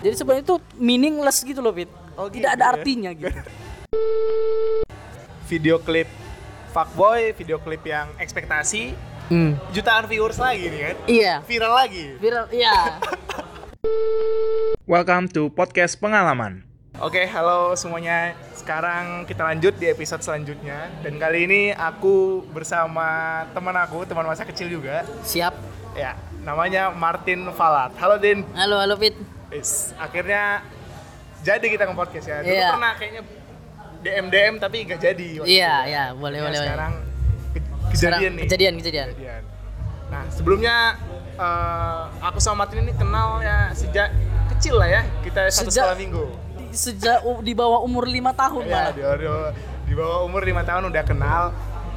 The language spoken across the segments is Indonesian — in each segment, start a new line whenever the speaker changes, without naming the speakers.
Jadi sebenarnya itu meaningless gitu loh, Fit.
Oh,
Tidak ada
gitu ya.
artinya gitu.
Video klip fuckboy, video klip yang ekspektasi
Hmm.
jutaan viewers lagi nih kan.
Iya.
Viral lagi.
Viral, iya.
Welcome to podcast pengalaman.
Oke, halo semuanya. Sekarang kita lanjut di episode selanjutnya. Dan kali ini aku bersama teman aku, teman masa kecil juga.
Siap.
Ya, namanya Martin Falat. Halo Din.
Halo, halo Fit.
Is, akhirnya jadi kita ke podcast ya. Dulu
Iya.
pernah kayaknya DM DM tapi gak jadi. waktu
Iya,
itu.
iya, boleh,
Ya,
boleh, boleh.
Sekarang ke-
Sekarang
kejadian nih.
kejadian, kejadian.
Kejadian. Nah, sebelumnya eh, aku sama Martin ini kenal ya sejak kecil lah ya. Kita satu
Sejak-
sekolah minggu.
Di- Sejak u- di bawah umur 5 tahun malah.
Ya, di, di- di bawah umur 5 tahun udah kenal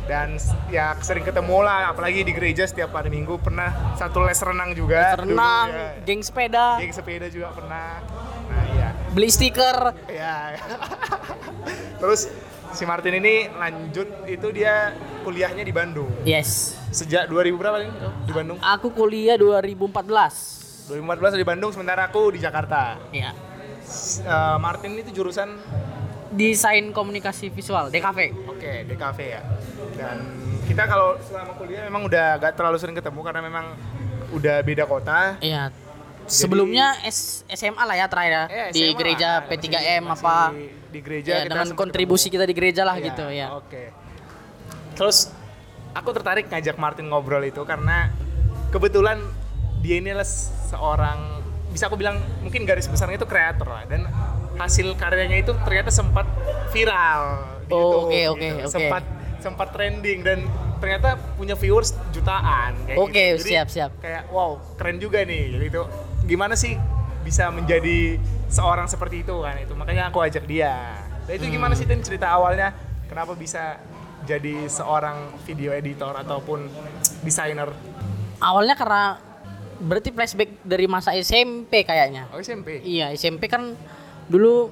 dan s- ya sering ketemu lah apalagi di gereja setiap hari minggu pernah satu les renang juga dulu,
Renang,
ya.
geng sepeda,
geng sepeda juga pernah nah iya
beli stiker.
Ya. Terus si Martin ini lanjut itu dia kuliahnya di Bandung.
Yes.
Sejak 2000 berapa nih di Bandung?
Aku kuliah 2014.
2014 di Bandung sementara aku di Jakarta.
Iya.
S- eh, Martin itu jurusan
Desain komunikasi visual, DKV.
oke DKV ya. Dan kita kalau selama kuliah memang udah gak terlalu sering ketemu karena memang udah beda kota.
Iya. Sebelumnya S- SMA lah ya terakhir ya.
Eh,
di
SMA
gereja
lah,
P3M apa.
masih- masih di gereja
Ya,
kita
dengan
sempet
kontribusi
ketemu.
kita di gereja lah
Iya,
gitu ya.
Oke. Terus aku tertarik ngajak Martin ngobrol itu karena kebetulan dia ini adalah seorang bisa aku bilang mungkin garis besarnya itu kreator lah dan hasil karyanya itu ternyata sempat viral di
Oh,
YouTube
oke,
gitu.
oke, oke.
sempat sempat trending dan ternyata punya viewers jutaan kayak
Oke,
gitu. Jadi
siap, siap.
kayak wow keren juga nih jadi itu gimana sih bisa menjadi seorang seperti itu kan itu makanya aku ajak dia dan itu gimana
Hmm.
sih Tin cerita awalnya kenapa bisa jadi seorang video editor ataupun desainer
Awalnya karena berarti flashback dari masa SMP kayaknya.
oh SMP
Iya, SMP kan dulu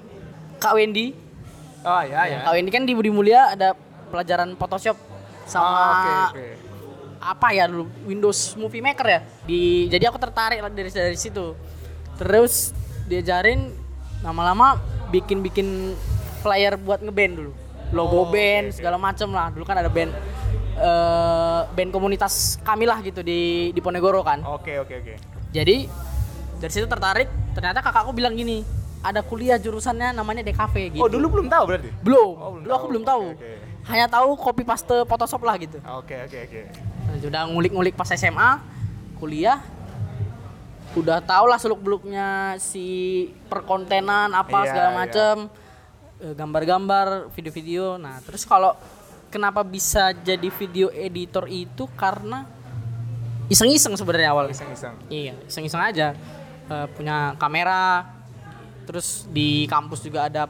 Kak Wendy,
oh ya ya
Kak Wendy kan di Budi Mulia ada pelajaran Photoshop sama
Ah, oke oke
apa ya dulu Windows Movie Maker ya. Di jadi aku tertarik lah dari dari situ. Terus diajarin lama-lama bikin-bikin flyer buat ngeband dulu. Logo
Oh, oke,
band
oke.
segala macem lah. Dulu kan ada band eh, band komunitas kami lah gitu di di Ponegoro kan.
oke oke oke
Jadi dari situ tertarik, ternyata kakakku bilang gini, ada kuliah jurusannya namanya DKV gitu.
oh dulu belum tahu berarti
belum,
Oh, belum
dulu aku
tahu.
belum tahu.
Oke, oke.
Hanya tahu copy paste Photoshop lah gitu.
oke oke oke
Sudah ngulik-ngulik pas SMA, kuliah udah tau lah seluk-beluknya si perkontenan apa
Iya,
segala
iya.
macem Eh, gambar-gambar, video-video. Nah, terus kalau kenapa bisa jadi video editor itu karena iseng-iseng sebenarnya awalnya.
iseng iseng
Iya, iseng-iseng aja. Eh, punya kamera. Terus di kampus juga ada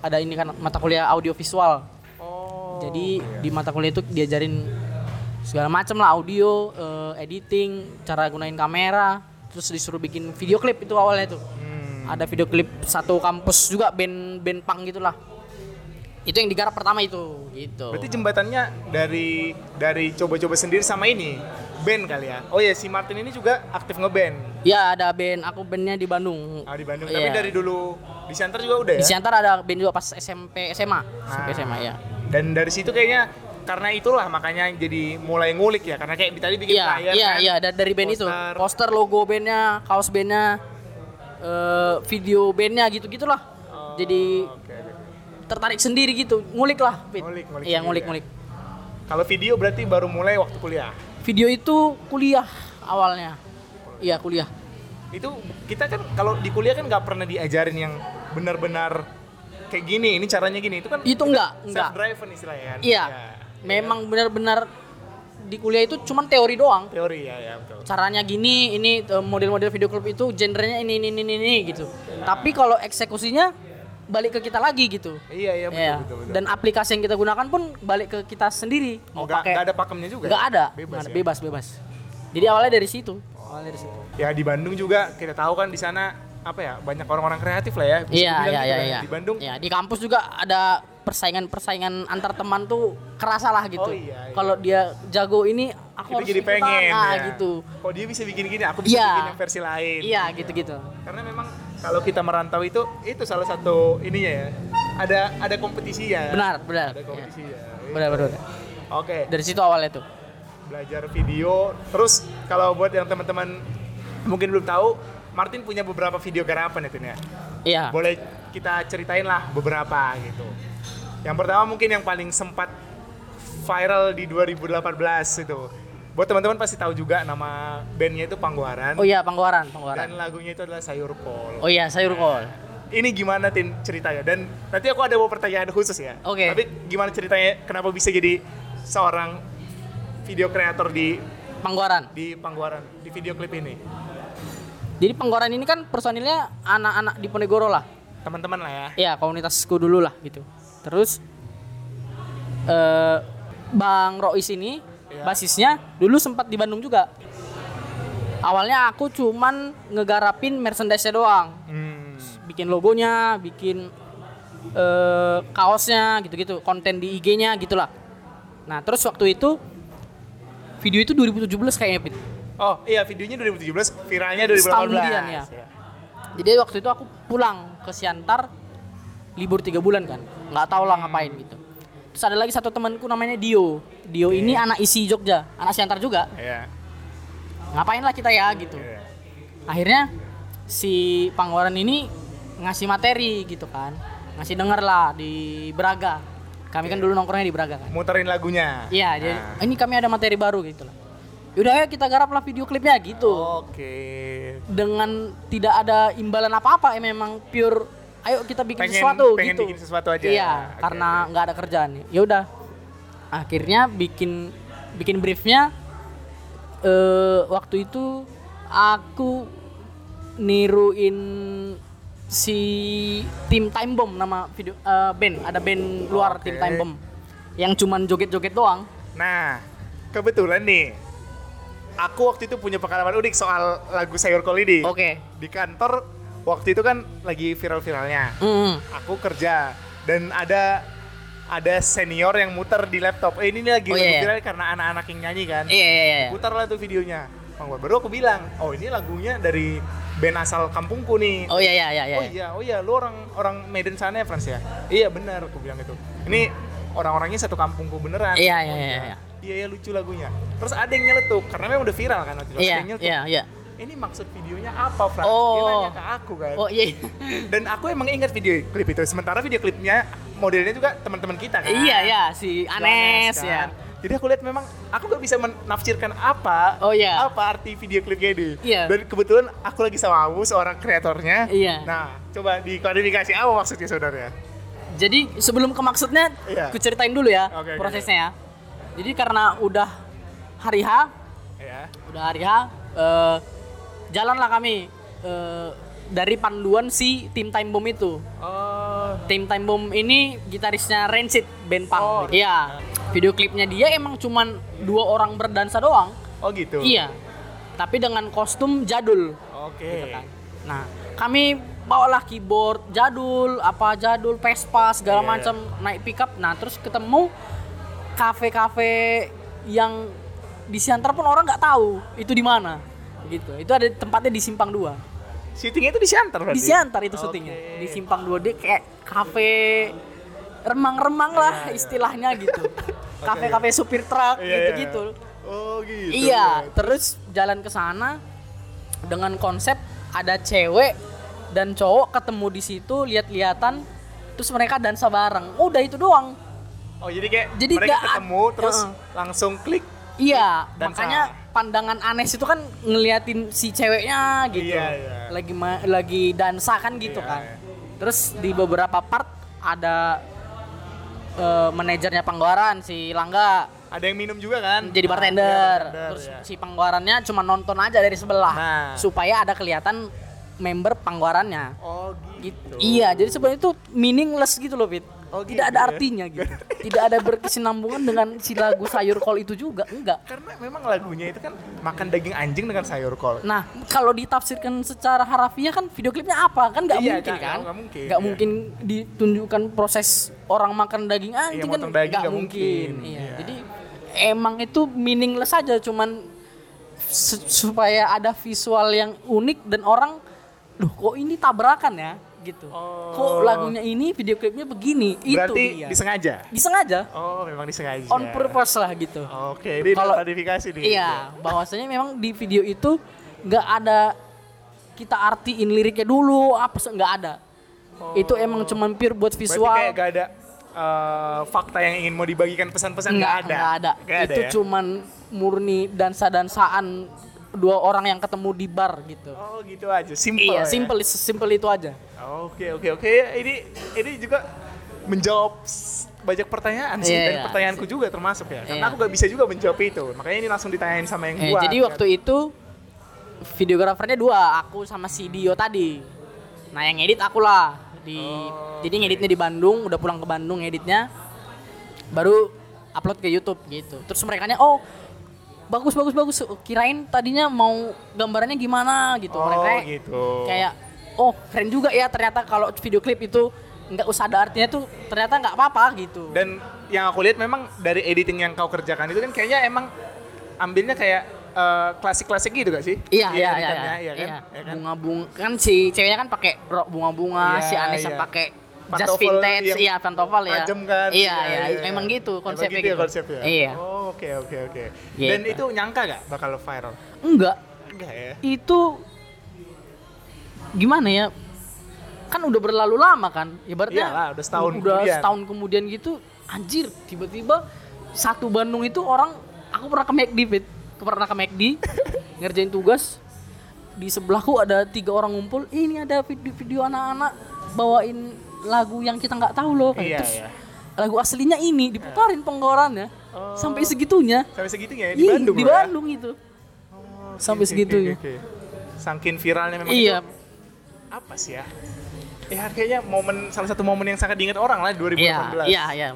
ada ini kan mata kuliah audio visual.
oh
Jadi
iya.
di mata kuliah itu diajarin segala macam lah audio, eh, editing, cara gunain kamera, terus disuruh bikin video klip itu awalnya tuh.
Hmm,
Ada video klip satu kampus juga band band punk gitulah. Itu yang digarap pertama itu gitu.
Berarti jembatannya dari dari coba-coba sendiri sama ini band kali ya. Oh iya si Martin ini juga aktif ngeband.
Ya ada band aku bandnya di Bandung.
Ah, di Bandung. Tapi
Iya.
dari dulu di center juga udah ya.
Di Siantar ada band juga pas SMP SMA, SMP
Ah.
SMA ya.
Dan dari situ kayaknya karena itulah makanya jadi mulai ngulik ya karena kayak tadi bikin
Iya,
flyer
iya,
kan.
iya da- dari band
poster.
itu. Poster logo bandnya, kaos bandnya, eh video bandnya gitu-gitulah.
Oh,
Jadi
oke, oke.
tertarik sendiri gitu, ngulik lah. Fit.
Ngulik, ngulik
iya,
sendiri
ngulik,
ya.
ngulik.
Kalau video berarti baru mulai waktu kuliah.
Video itu kuliah awalnya. Iya, kuliah.
Itu kita kan kalau di kuliah kan nggak pernah diajarin yang benar-benar kayak gini, ini caranya gini. Itu kan
Itu enggak, enggak.
self driven istilahnya kan.
Iya.
Ya.
Memang benar-benar di kuliah itu cuman teori doang.
Teori ya, ya betul.
Caranya gini, ini eh, model-model video klip itu genrenya ini ini ini ini, ini gitu. Tapi kalau eksekusinya balik ke kita lagi gitu.
Iya, iya betul,
Iya.
betul, betul.
Dan aplikasi yang kita gunakan pun balik ke kita sendiri. Mau
Oh, nggak
pakai
nggak ada pakemnya juga?
nggak
ya?
ada.
Bebas
Nggak ada,
ya?
bebas, bebas. Jadi awalnya dari situ. Awalnya dari situ.
Ya di Bandung juga kita tahu kan di sana apa ya banyak orang-orang kreatif lah ya. Bisa
Iya,
dibilang
iya,
gitu
iya,
kan.
iya.
Di Bandung.
Iya, di kampus juga ada persaingan-persaingan antar teman tuh kerasa lah gitu.
Oh, iya, iya.
Kalau dia jago ini, aku
Itu
harus
jadi
ikutan.
pengen.
Ah,
ya.
gitu.
Kok dia bisa bikin gini, aku bisa
Iya.
bikin yang versi lain.
Iya, gitu-gitu.
Karena memang kalau kita merantau itu itu salah satu ininya ya. Ada ada kompetisi ya.
Benar, benar.
Ada
Ya.
kompetisi ya.
Benar, benar. benar.
Oke.
Dari situ awalnya tuh.
belajar video. Terus kalau buat yang teman-teman mungkin belum tahu, Martin punya beberapa video garapan ya Tin ya.
Iya.
Boleh kita ceritain lah beberapa gitu. Yang pertama mungkin yang paling sempat viral di 2018 itu. Buat teman-teman pasti tahu juga nama bandnya itu Pangguaran.
Oh iya, Panggoran, Panggoran.
Dan lagunya itu adalah Sayur
Oh
Kol.
iya, sayur kol.
Ini gimana Tin ceritanya? Dan nanti aku ada mau pertanyaan khusus ya.
Oke.
Tapi gimana ceritanya kenapa bisa jadi seorang video kreator di
Panggoran.
di Pangguaran di video klip ini
Jadi Panggoran ini kan personilnya anak-anak di Ponegoro lah.
teman-teman lah ya
ya komunitasku dulu lah gitu terus eh bang Rois ini
Iya.
basisnya dulu sempat di Bandung juga awalnya aku cuman ngegarapin merchandise doang
hmm.
bikin logonya bikin eh kaosnya gitu-gitu konten di IG-nya gitulah nah terus waktu itu video itu 2017 kayaknya Pit.
oh iya videonya 2017 viralnya 2018
Setahun kemudian, ya.
Iya.
Jadi waktu itu aku pulang ke Siantar libur tiga bulan kan, nggak tahu lah ngapain gitu. Terus ada lagi satu temanku namanya Dio. Dio ini anak isi Jogja, anak Siantar juga.
Iya.
Ngapain lah kita ya gitu.
Iya.
Akhirnya si Panggoran ini ngasih materi gitu kan, ngasih denger lah di Braga. Kami kan dulu nongkrongnya di Braga kan.
muterin lagunya
Iya, jadi
Nah,
ini kami ada materi baru gitu lah. Yaudah ya kita garap lah video klipnya gitu.
oke
dengan tidak ada imbalan apa-apa ya memang pure ayo kita bikin
Pengen-
sesuatu
pengen
gitu.
bikin sesuatu aja.
Iya,
Oke,
karena nggak ada kerjaan. Ya udah. Akhirnya bikin bikin briefnya eh waktu itu aku niruin si tim Time Bomb nama video eh, band, ada band luar
Oke.
tim Time Bomb yang cuman joget-joget doang.
nah kebetulan nih aku waktu itu punya pengalaman unik soal lagu sayur kol ini
Oke.
di kantor waktu itu kan lagi viral-viralnya
Mm.
aku kerja dan ada ada senior yang muter di laptop eh ini nih lagi
Oh,
lagu
iya, iya.
viral karena anak-anak yang nyanyi kan
Iya iya iya.
putar lah tuh videonya Bang Bar. baru aku bilang oh ini lagunya dari band asal kampungku nih
Oh iya iya iya iya.
oh iya oh iya lu orang orang Medan sana ya Frans ya iya benar aku bilang gitu ini orang-orangnya satu kampungku beneran
Iya, iya,
Oh,
iya, iya.
iya iya lucu lagunya terus ada yang nyeletuk karena memang udah viral kan waktu itu
Iya
Ada yang nyeletuk,
iya iya.
ini maksud videonya apa Frans
Oh.
dia nanya ke aku kan
Oh iya.
dan aku emang ingat video klip itu sementara video klipnya modelnya juga teman-teman kita kan
Iya ya si Anes
Johannes,
ya.
kan. Jadi aku lihat memang aku gak bisa menafsirkan apa
Oh, iya.
apa arti video klipnya ini.
Iya.
Dan kebetulan aku lagi sama kamu seorang kreatornya.
Iya.
Nah, coba diklarifikasi apa maksudnya saudara?
Jadi sebelum ke maksudnya,
Iya.
ku ceritain dulu ya
Oke, oke,
prosesnya ya. Jadi karena udah hari H,
Ya.
udah hari H, eh, jalanlah kami eh, dari panduan si tim Time Bomb itu.
Oh,
Tim Time Bomb ini gitarisnya Rancid band punk.
Oh.
Iya. Video klipnya dia emang cuman dua orang berdansa doang.
oh gitu.
Iya. Tapi dengan kostum jadul.
Oke.
gitu kan. Nah, kami bawalah keyboard jadul, apa jadul, Vespa segala
Iya.
macam naik pickup. Nah, terus ketemu kafe-kafe yang di Siantar pun orang nggak tahu itu di mana. Gitu. Itu ada tempatnya di Simpang 2.
Syutingnya itu di Siantar berarti.
Di Siantar itu
Oke.
syutingnya. Di Simpang 2 dia kayak kafe remang-remang lah
Iya, iya.
istilahnya gitu. Kafe-kafe supir truk
Iya, iya.
gitu-gitu.
Oh gitu.
Iya, terus jalan ke sana dengan konsep ada cewek dan cowok ketemu di situ lihat-lihatan terus mereka dansa bareng. Udah itu doang.
Oh jadi kayak
Jadi
mereka
nggak-
ketemu terus
Heeh.
langsung klik.
Iya,
Dansa.
makanya pandangan Anes itu kan ngeliatin si ceweknya gitu.
Iya, iya.
Lagi ma- lagi dansa kan gitu
Iya,
kan.
iya.
Terus di beberapa part ada eh, manajernya Panggoran si Langga
Ada yang minum juga kan?
jadi
Nah,
bartender.
iya, bartender,
Terus
iya.
si panggorannya cuma nonton aja dari sebelah
Nah.
supaya ada kelihatan member panggorannya.
Oh
Gitu.
gitu.
Iya, jadi sebenarnya itu meaningless gitu loh, Fit.
Oh,
Tidak
gitu
ada
ya.
artinya gitu. Tidak ada berkesinambungan dengan si lagu sayur kol itu juga, enggak.
Karena memang lagunya itu kan makan daging anjing dengan sayur kol.
Nah, kalau ditafsirkan secara harafiah kan video klipnya apa? Kan nggak
Iya,
mungkin
nggak-
kan?
nggak mungkin,
Nggak
iya.
mungkin ditunjukkan proses orang makan daging anjing
Iya,
kan
motong daging
nggak
nggak mungkin,
Iya,
iya.
jadi emang itu meaningless aja cuman se- supaya ada visual yang unik dan orang duh kok ini tabrakan ya gitu kok lagunya ini video klipnya begini
Oh. Berarti
itu dia
disengaja.
disengaja
Oh, memang disengaja.
on purpose lah gitu
Oke, ini
Kalau-
klarifikasi nih.
Iya, bahwasanya memang di video itu nggak ada kita artiin liriknya dulu apa se- nggak ada. Itu emang cuman pure buat
Oh. Berarti
visual.
kayak gak ada eh, fakta yang ingin mau dibagikan pesan-pesan nggak ada.
nggak ada.
Nggak ada
itu
ya?
cuman murni dansa-dansaan dua orang yang ketemu di bar gitu.
Oh, gitu aja. Simple.
iya,
ya?
simple simple itu aja.
Oke, oke, oke. Ini ini juga menjawab s- banyak pertanyaan sih
Iya,
dan
iya.
pertanyaanku juga termasuk ya. Karena
Iya.
aku gak bisa juga menjawab itu. Makanya ini langsung ditanyain sama yang gitu.
Eh,
buat.
jadi waktu itu videografernya dua, aku sama si Dio tadi. Nah yang edit aku lah. Di,
Oh,
jadi ngeditnya di Bandung, udah pulang ke Bandung ngeditnya. Baru upload ke YouTube gitu. Terus mereka nya oh bagus bagus bagus. Kirain tadinya mau gambarannya gimana gitu.
Oh,
mereka
gitu.
kayak oh keren juga ya ternyata kalau video klip itu nggak usah ada artinya tuh ternyata nggak apa-apa gitu.
Dan yang aku lihat memang dari editing yang kau kerjakan itu kan kayaknya emang ambilnya kayak eh, klasik-klasik gitu gak sih?
Iya, iya, iya,
editannya,
iya,
kan?
iya.
Iya kan?
Bunga-bunga kan si ceweknya kan pakai rok bunga-bunga,
Iya,
si Anes yang
iya.
pakai jas
Pantofel
vintage,
yang
iya pantofel ya.
Tajam kan?
Iya, iya, memang gitu konsepnya
Emang gitu,
gitu.
ya konsepnya?
Iya.
Oh, oke, oke, oke.
Gitu.
Dan itu nyangka gak bakal viral?
Enggak,
Enggak ya?
itu gimana ya? Kan udah berlalu lama kan? Ibaratnya
Iyalah, udah setahun
udah
kemudian.
setahun kemudian gitu, anjir, tiba-tiba satu Bandung itu orang aku pernah ke McD, Fit. Aku pernah ke McD ngerjain tugas di sebelahku ada tiga orang ngumpul "Ih, ini ada video-video anak-anak bawain lagu yang kita nggak tahu loh
Iya,
kayak terus
iya.
lagu aslinya ini diputarin penggorannya sampai segitunya
Sampai segitunya ya? Oh. Di
Ih,
Bandung
di
loh ya?
Bandung itu
Oh, oke,
Sampai
oke,
segitunya.
oke, oke, oke. Saking viralnya memang
iya
itu. Apa sih ya? Ya kayaknya momen salah satu momen yang sangat diingat orang lah 2018.
iya iya iya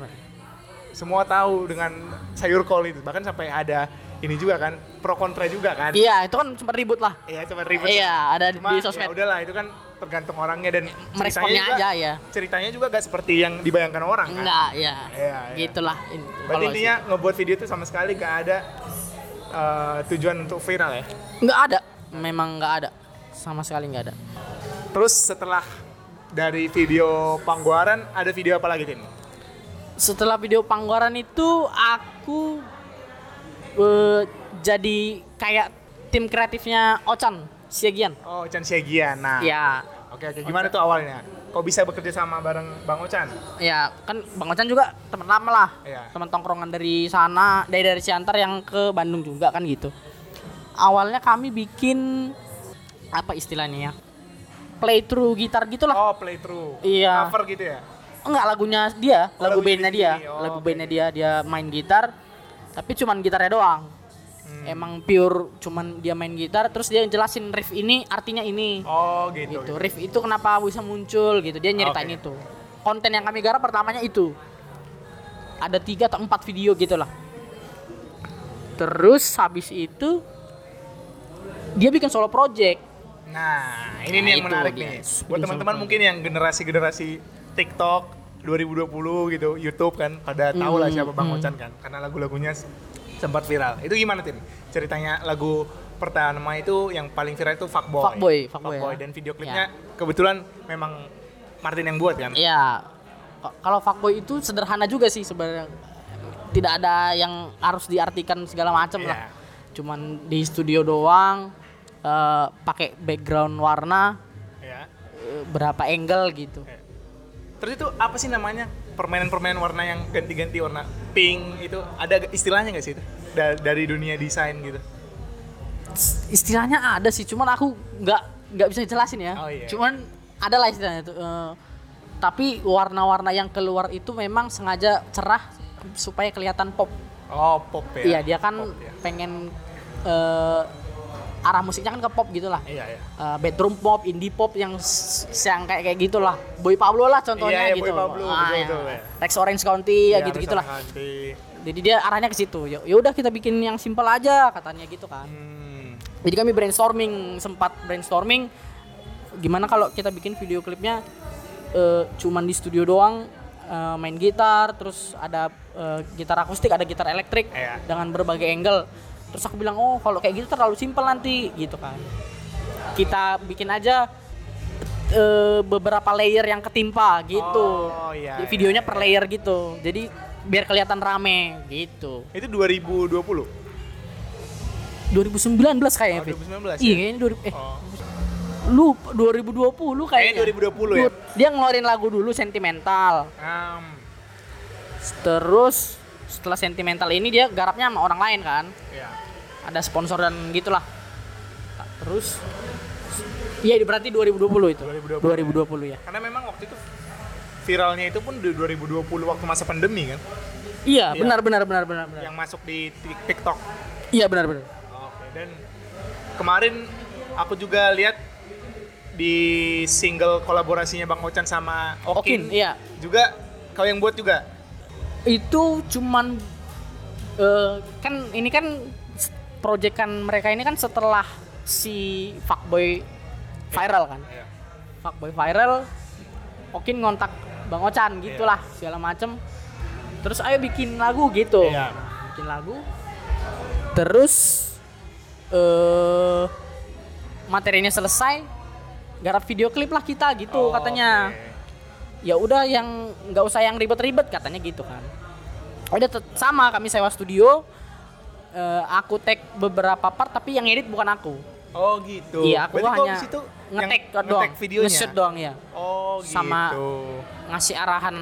Semua tahu dengan sayur kol itu. Bahkan sampai ada ini juga kan pro kontra juga kan.
iya itu kan sempat ribut lah
Iya, cuma ribet.
Iya, ada di
Cuma,
sosmed.
Ya udahlah, itu kan tergantung orangnya dan
meresponnya
ceritanya juga-
aja ya
Ceritanya juga gak seperti yang dibayangkan orang kan.
enggak ya
Iya, iya.
gitulah in-
Berarti
kalau
intinya ngebuat video itu sama sekali gak ada eh, tujuan untuk viral ya.
sih. nggak ada memang nggak ada sama sekali nggak ada
Terus setelah dari video Pangguaran ada video apa lagi Tim?
setelah video panggoran itu aku eh, jadi kayak tim kreatifnya Ocan Siagian.
Oh, Ocan Siegian. Nah.
Ya,
Oke, oke. Gimana tuh awalnya? Kok bisa bekerja sama bareng Bang Ocan?
ya kan Bang Ocan juga teman lama lah,
Iya.
teman tongkrongan dari sana, dari dari Ciantar yang ke Bandung juga kan gitu. Awalnya kami bikin apa istilahnya ya? Playthrough gitar gitulah.
Oh, playthrough.
Iya.
Cover gitu ya?
Enggak lagunya dia,
Oh,
lagu
lagunya
bandnya
dia
dia,
sendiri. Oh,
lagu
oke.
bandnya dia, dia main gitar, tapi cuman gitarnya doang.
Hmm.
Emang pure cuman dia main gitar, terus dia jelasin riff ini artinya ini,
Oh, gitu.
gitu. Riff itu kenapa bisa muncul gitu, dia nyeritain
Oke.
itu. Konten yang kami garap pertamanya itu, ada tiga atau empat video gitulah. Terus habis itu dia bikin solo project.
Nah, ini
Nah,
nih yang
itu
menarik
dia.
nih. Buat teman-teman mungkin yang generasi-generasi TikTok 2020 gitu, YouTube kan pada
Hmm,
tahu lah siapa Bang Ocan kan karena lagu-lagunya s- sempat viral. Itu gimana Tim? Ceritanya lagu pertama itu yang paling viral itu Fuckboy.
Fuckboy, Fuckboy, ya.
dan video klipnya kebetulan memang Martin yang buat kan.
Iya. K- Kalau fuckboy itu sederhana juga sih sebenarnya. Tidak ada yang harus diartikan segala macam
Iya.
lah. Cuman di studio doang eh, pakai background warna
Ya.
eh, berapa angle gitu.
Terus itu apa sih namanya? Permainan-permainan warna yang ganti-ganti warna pink itu ada istilahnya nggak sih itu? Da- dari dunia desain gitu.
S- Istilahnya ada sih, cuman aku nggak nggak bisa jelasin ya.
Oh, iya.
Cuman ada lah istilahnya itu. eh, tapi warna-warna yang keluar itu memang sengaja cerah supaya kelihatan pop.
Oh, pop ya.
Iya, dia kan
Pop, ya.
pengen eh, arah musiknya kan ke pop gitu lah.
Iya, iya.
Uh, bedroom pop, indie pop yang s- s- yang kayak kayak gitulah. Boy Pablo lah contohnya
Iya, iya,
gitu.
Boy Pablo, betul, betul, ya.
Rex Orange County ya,
Iya,
gitu gitulah.
harus sama Hanti.
Jadi dia arahnya ke situ. Ya ya udah kita bikin yang simpel aja katanya gitu kan.
Hmm.
Jadi kami brainstorming, sempat brainstorming gimana kalau kita bikin video klipnya eh, cuman di studio doang eh, main gitar, terus ada eh, gitar akustik, ada gitar elektrik
Iya.
dengan berbagai angle. Terus aku bilang, "Oh, kalau kayak gitu terlalu simpel nanti." gitu kan. Kita bikin aja eh, beberapa layer yang ketimpa gitu.
Oh, iya,
Di
iya,
videonya per layer gitu. Jadi biar kelihatan rame gitu.
Itu 2020.
2019 kayaknya.
Oh,
Fit.
2019
Iya,
ya?
kayaknya 2000 eh
Oh.
lu 2020 kayaknya.
Kayaknya 2020 ya?
Lu- Dia ngeluarin lagu dulu sentimental.
Um,
Terus setelah sentimental ini dia garapnya sama orang lain kan.
ya.
Ada sponsor dan gitulah. Terus Iya, berarti 2020 itu.
2020.
2020 ya.
Karena memang waktu itu viralnya itu pun di 2020 waktu masa pandemi kan,
Iya,
Iya.
benar benar benar benar benar.
yang masuk di Tik- TikTok.
Iya, benar benar.
Oke. Dan kemarin aku juga lihat di single kolaborasinya Bang Ochan sama Okin,
Okin, iya.
juga kau yang buat juga.
Itu cuman eh, kan ini kan s- proyekan mereka ini kan setelah si fuckboy viral kan.
Iya.
fuckboy viral Okin ngontak Bang Ocan
Iya.
gitulah segala macem terus ayo bikin lagu gitu
Iya.
bikin lagu terus eh materinya selesai garap video klip lah kita gitu
Oh,
katanya
oke.
ya udah yang nggak usah yang ribet-ribet katanya gitu kan udah tet- sama kami sewa studio Eh, aku tag beberapa part tapi yang edit bukan aku
Oh gitu.
iya aku
Berarti kau
hanya
di situ yang
ngetek doang
ngetek videonya.
nge-shoot doang ya
Oh gitu.
Sama- ngasih arahan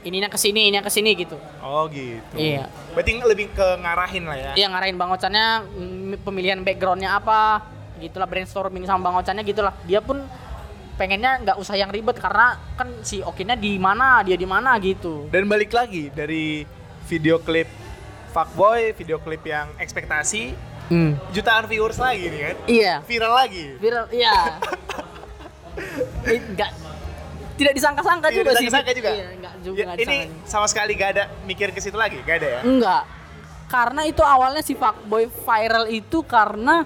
ininya ke sini, ininya ke sini gitu.
Oh gitu.
Iya.
Berarti lebih ke ngarahin lah ya.
Iya ngarahin Bang Ocannya mm, pemilihan backgroundnya apa, gitulah brainstorming sama Bang Ocannya gitulah. Dia pun pengennya nggak usah yang ribet karena kan si Okinnya di mana, dia di mana gitu.
Dan balik lagi dari video klip Fuckboy, video klip yang ekspektasi Hmm. jutaan viewers lagi nih kan.
Iya.
Viral lagi.
Viral, iya. Eh, nggak tidak disangka-sangka
Iya,
juga sih.
disangka-sangka juga.
Iya, nggak juga.
Ya,
nggak
ini
disangka.
sama sekali gak ada mikir ke situ lagi, gak ada ya?
Enggak. Karena itu awalnya si fuckboy viral itu karena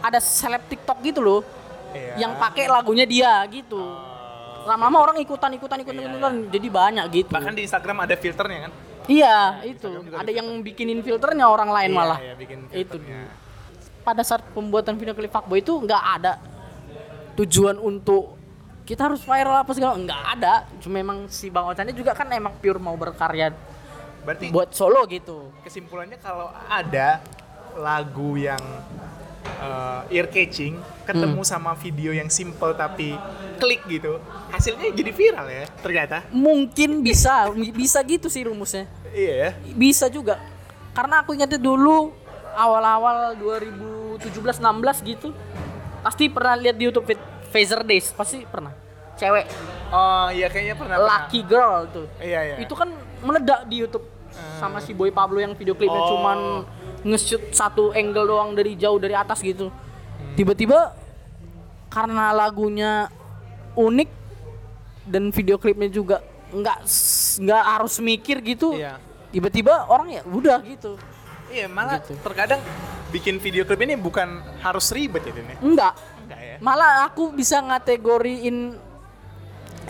ada seleb TikTok gitu loh.
Iya. Oh,
Yang pakai lagunya dia gitu. Lama-lama orang ikutan-ikutan ikutan-ikutan jadi banyak gitu.
Iya, Bahkan di Instagram ada filternya kan?
iya, itu.
Instagram juga
Ada
ada
yang bikinin filternya orang lain
Iya,
malah.
iya, bikin
itu.
filternya.
Pada saat pembuatan video klip fuckboy itu nggak ada tujuan untuk kita harus viral apa segala nggak ada cuma memang si bang Ocannya juga kan emang pure mau berkarya
Berarti
buat solo gitu
kesimpulannya kalau ada lagu yang uh, ear catching ketemu sama video yang simple tapi klik gitu, hasilnya jadi viral ya ternyata.
mungkin bisa mi- bisa gitu sih rumusnya
Iya ya.
bisa juga karena aku ingatnya dulu awal-awal 2017-16 gitu pasti pernah lihat di YouTube Fit- Phaser Days pasti pernah cewek
Oh iya kayaknya pernah. pernah.
lucky girl tuh
Iya iya.
itu kan meledak di YouTube sama si Boy Pablo yang video klipnya
Oh.
cuman nge-shoot satu angle doang dari jauh dari atas gitu
Hmm.
tiba-tiba karena lagunya unik dan video klipnya juga nggak s- nggak harus mikir gitu
Iya.
tiba-tiba orang ya udah gitu
Iya malah
Gitu.
terkadang bikin video klip ini bukan harus ribet ya Din, ya?
enggak
Enggak ya.
malah aku bisa ngategoriin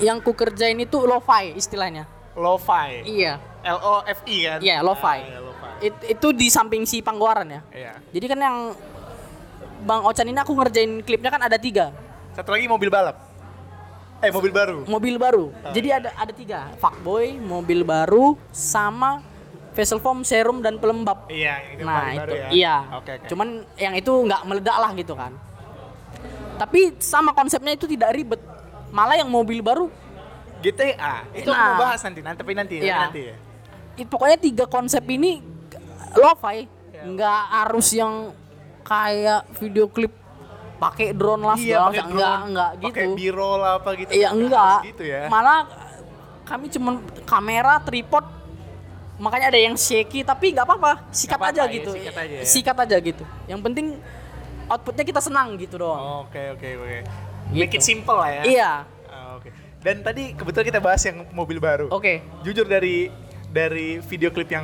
yang ku kerjain itu lo-fi istilahnya
Lo-fi.
iya
L O F I kan?
iya lo-fi
Ah, iya, lo-fi.
It- itu di samping si pangguaran ya
Iya.
Jadi kan yang Bang Ocan ini aku ngerjain klipnya kan ada tiga
Satu lagi mobil balap. Eh mobil baru.
mobil baru.
Oh,
Jadi ada ada tiga fuckboy, mobil baru, sama facial foam, serum dan pelembab.
Iya, itu
nah
paling
itu
baru ya.
iya.
Oke, oke.
Cuman yang itu nggak meledak lah gitu kan. Tapi sama konsepnya itu tidak ribet. Malah yang mobil baru,
GTA Gitu ya? Ah, itu
Nah.
mau bahas nanti, nanti tapi nanti,
Iya.
nanti ya.
it, pokoknya tiga konsep ini lo-fi,
Iya.
nggak harus yang kayak video klip pakai drone lah segala
Iya, pakai
macam. Nggak,
drone,
nggak gitu.
Pakai b-roll apa gitu.
Iya
Nggak
enggak.
harus Gitu ya.
Malah kami cuman kamera, tripod, makanya ada yang shaky tapi nggak apa-apa, sikat
Nggak
aja
apa-apa ya,
gitu.
sikat aja ya.
Sikat aja gitu. Yang penting outputnya kita senang gitu doang.
Oke, oke, oke.
Gitu.
Make it simple lah ya.
Iya.
Ah, Oke. Dan tadi kebetulan kita bahas yang mobil baru.
Oke.
Jujur dari dari video klip yang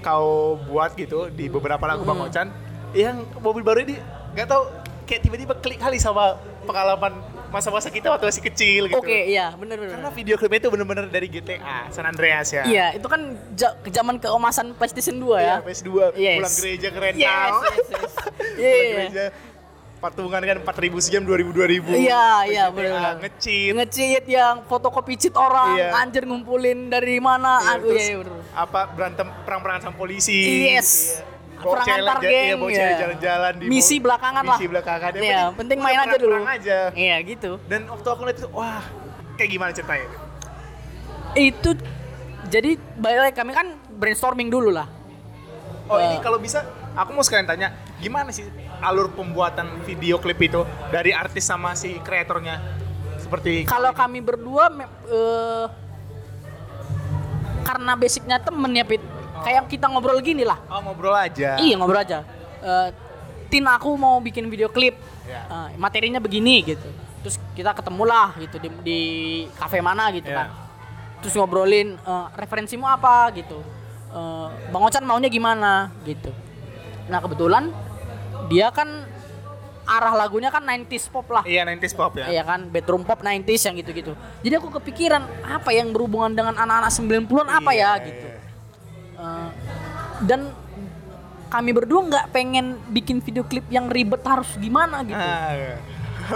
kau buat gitu di beberapa lagu Bang
Mm-hmm.
Ocan, yang mobil baru ini nggak tahu kayak tiba-tiba klik kali sama pengalaman masa-masa kita waktu masih kecil gitu.
Oke, iya, bener bener.
Karena
bener.
video klipnya itu bener-bener dari GTA San Andreas ya.
Iya, itu kan ja- ke zaman keemasan PlayStation 2 ya.
Iya, PS2
Yes.
pulang gereja keren
Yes,
tau.
yes, yes. Iya,
Pulang
iya.
gereja patungan kan 4000 sejam 2000 2000.
Iya, iya, bener,
benar.
bener.
Ngecit.
Ngecit yang fotokopi cheat orang,
Iya.
anjir ngumpulin dari mana.
Iya,
Aduh,
terus
iya, iya, bener.
Apa berantem perang-perangan sama polisi.
Yes.
Iya. Bawa
Perang
cewek
antar
jalan- iya,
geng.
bawa
iya.
cewek jalan-jalan di
Misi
mall.
belakangan lah.
Misi belakangan. Yang
Iya, penting main aja dulu.
perang-perang aja.
Iya, gitu.
Dan waktu aku lihat itu wah, kayak gimana ceritanya?
Itu jadi balik lagi, kami kan brainstorming dulu lah.
Oh
Eh.
ini kalau bisa, aku mau sekalian tanya, gimana sih alur pembuatan video klip itu dari artis sama si kreatornya? Seperti
Kalau kami berdua me- eh, karena basicnya temen ya Pit. Kayak kita ngobrol gini lah.
oh, ngobrol aja.
Iya ngobrol aja. Eh, Tin aku mau bikin video klip.
Ya.
Eh, materinya begini gitu. Terus kita ketemulah gitu di, di kafe mana gitu kan.
Ya.
Terus ngobrolin eh, referensimu apa gitu. Eh, Bang Ocan maunya gimana gitu. Nah kebetulan dia kan arah lagunya kan 90s pop lah.
Iya, 90s pop ya.
Iya kan, bedroom pop 90s yang gitu-gitu. Jadi aku kepikiran apa yang berhubungan dengan anak-anak 90-an apa
Iya,
ya gitu.
iya.
Eh, dan kami berdua nggak pengen bikin video klip yang ribet harus gimana gitu.
Ah, iya.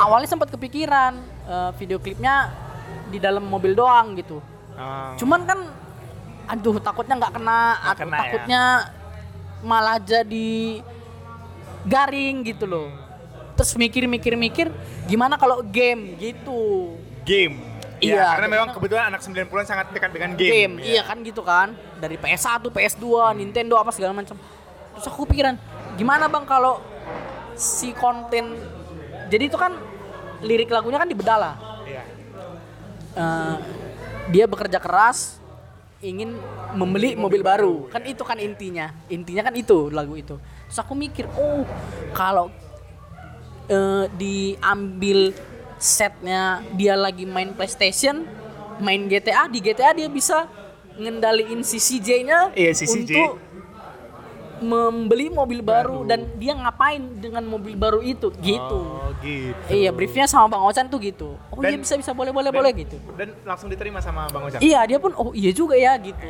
Awalnya sempat kepikiran eh, video klipnya di dalam mobil doang gitu.
Ah.
Cuman kan aduh takutnya nggak kena,
Nggak
atau
kena, ya.
takutnya malah jadi garing gitu loh. Terus mikir-mikir-mikir gimana kalau game gitu.
game. Iya,
Iya,
karena
karena-
memang kebetulan anak 90-an sangat dekat dengan game.
game, iya kan gitu kan dari PS1, PS2, Nintendo apa segala macam. Terus aku pikiran gimana bang kalau si konten jadi itu kan lirik lagunya kan dibedala.
Iya.
Eh, dia bekerja keras ingin membeli mobil, baru. Kan itu kan intinya. Intinya kan itu lagu itu. Terus aku mikir, oh kalau eh, diambil setnya dia lagi main PlayStation, main GTA di GTA dia bisa ngendaliin si CJ-nya
Iya, si CJ.
untuk membeli mobil baru, dan dia ngapain dengan mobil baru itu gitu.
Oh, gitu.
Iya, briefnya sama Bang Ocan tuh gitu. Oh iya
Dan-
bisa bisa boleh boleh
Dan-
boleh gitu.
Dan langsung diterima sama Bang Ojak.
Iya, dia pun oh iya juga ya gitu.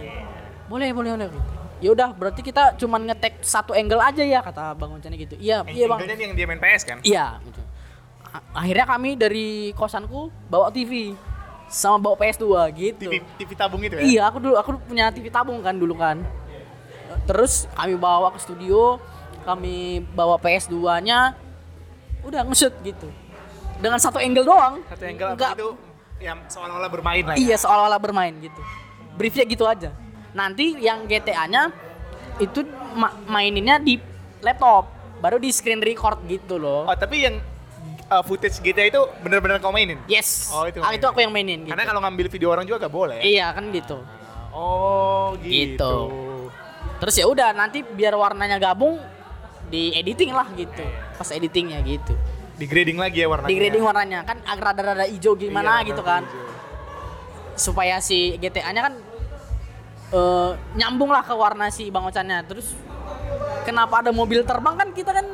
Boleh, boleh, boleh gitu. Ya udah, berarti kita cuman ngetek satu angle aja ya kata Bang Oncana gitu. Iya, iya Bang.
Eh, Angle-nya yang dia main PS kan?
Iya, gitu. A- Akhirnya kami dari kosanku bawa TV sama bawa PS2 gitu.
TV, TV tabung itu ya?
Iya, aku dulu aku punya TV tabung kan dulu kan. Terus kami bawa ke studio, kami bawa PS2-nya udah nge-shoot gitu. Dengan satu angle doang.
Satu angle apa
Nggak-
itu yang seolah-olah bermain lah ya?
Iya seolah-olah bermain gitu. Briefnya gitu aja. Nanti yang GTA-nya itu ma- maininnya di laptop, baru di screen record gitu loh.
Oh, tapi yang uh, footage GTA itu bener-bener kau mainin?
Yes.
Oh, itu
Ah,
mainin.
aku yang mainin. Gitu.
Karena kalau ngambil video orang juga gak boleh.
Iya kan gitu.
Oh, gitu.
Gitu. Terus ya udah nanti biar warnanya gabung di editing lah gitu. Pas editingnya gitu.
Di grading lagi ya warnanya.
Di grading warnanya kan agak rada-rada hijau
Iya,
gimana
warna
gitu kan.
hijau.
supaya si GTA-nya kan eh, nyambung lah ke warna si Bang Ocannya. Terus kenapa ada mobil terbang kan kita kan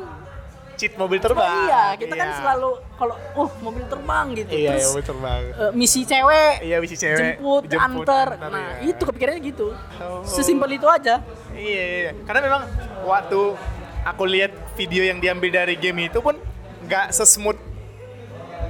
Cheat mobil terbang.
iya, kita kan
Iya.
selalu kalau uh mobil terbang gitu.
Iya, iya,
Terus
mobil terbang.
eh, misi cewek,
Iya, misi cewek,
jemput,
jemput,
antar.
antar,
Nah,
iya.
itu kepikirannya gitu.
Oh.
Sesimpel itu aja.
Iya, iya, iya. Karena memang waktu aku lihat video yang diambil dari game itu pun nggak sesmooth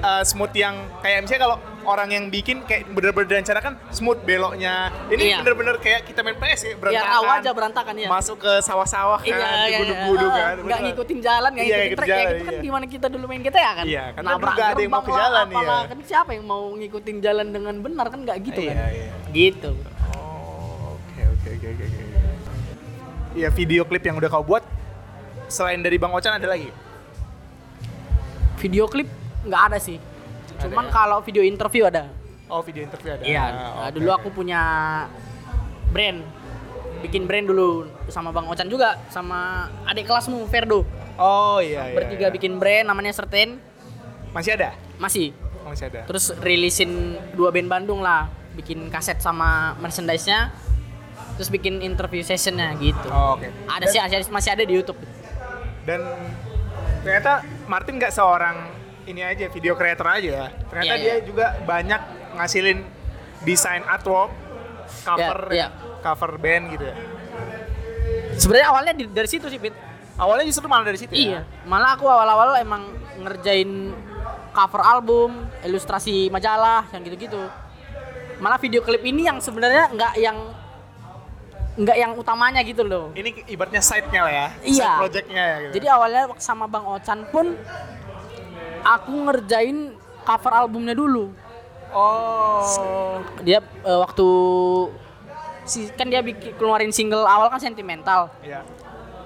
uh, smooth yang kayak misalnya kalau orang yang bikin kayak bener-bener direncanakan smooth beloknya. Ini
Iya.
bener-bener kayak kita main PS ya,
Ya
berantakan.
raw aja berantakan ya.
Masuk ke sawah-sawah
Iya,
kan, di gudung-gudung
Ah,
kan.
Nggak
Bener.
ngikutin jalan, nggak
Iya,
ngikutin
ngikutin
track. Ya,
jalan,
gitu kan
iya.
gimana kita dulu main GTA kan?
Iya, kan
Nabrak
nggak ada yang mau ke
gerbang lah,
jalan, iya.
apalah. Kan siapa yang mau ngikutin jalan dengan benar kan nggak gitu
Iya,
kan?
iya.
Gitu.
Oh, oke oke oke oke. oke. Ya video klip yang udah kau buat selain dari Bang Ocan ada lagi?
Video klip nggak ada sih. Cuman
ya?
kalau video interview ada.
Oh, video interview ada.
Iya.
Ah,
nah,
oke,
dulu
oke.
aku punya brand. Bikin brand dulu sama Bang Ocan juga sama adik kelasmu Ferdo.
Oh iya iya.
Bertiga
iya.
bikin brand namanya Certain
Masih ada?
masih.
Oh, masih ada.
Terus rilisin dua band Bandung lah, bikin kaset sama merchandise-nya. Terus bikin interview sessionnya gitu.
Oh, oke.
Ada
Dan-
sih, ada- masih ada di YouTube.
Dan ternyata Martin nggak seorang ini aja video creator aja ya. ternyata
Iya,
dia
iya.
juga banyak ngasilin desain artwork cover
Iya, iya.
cover band gitu ya
Sebenarnya awalnya di- dari situ sih, Pit.
awalnya justru malah dari situ
Iya,
ya?
malah aku awal-awal emang ngerjain cover album, ilustrasi majalah, yang gitu-gitu. Malah video klip ini yang sebenarnya nggak yang nggak yang utamanya gitu loh.
ini ibaratnya side-nya lah ya side
Iya.
project-nya ya gitu.
Jadi awalnya sama Bang Ocan pun aku ngerjain cover albumnya dulu.
oh
Dia eh, waktu si kan dia bikin keluarin single awal kan sentimental.
iya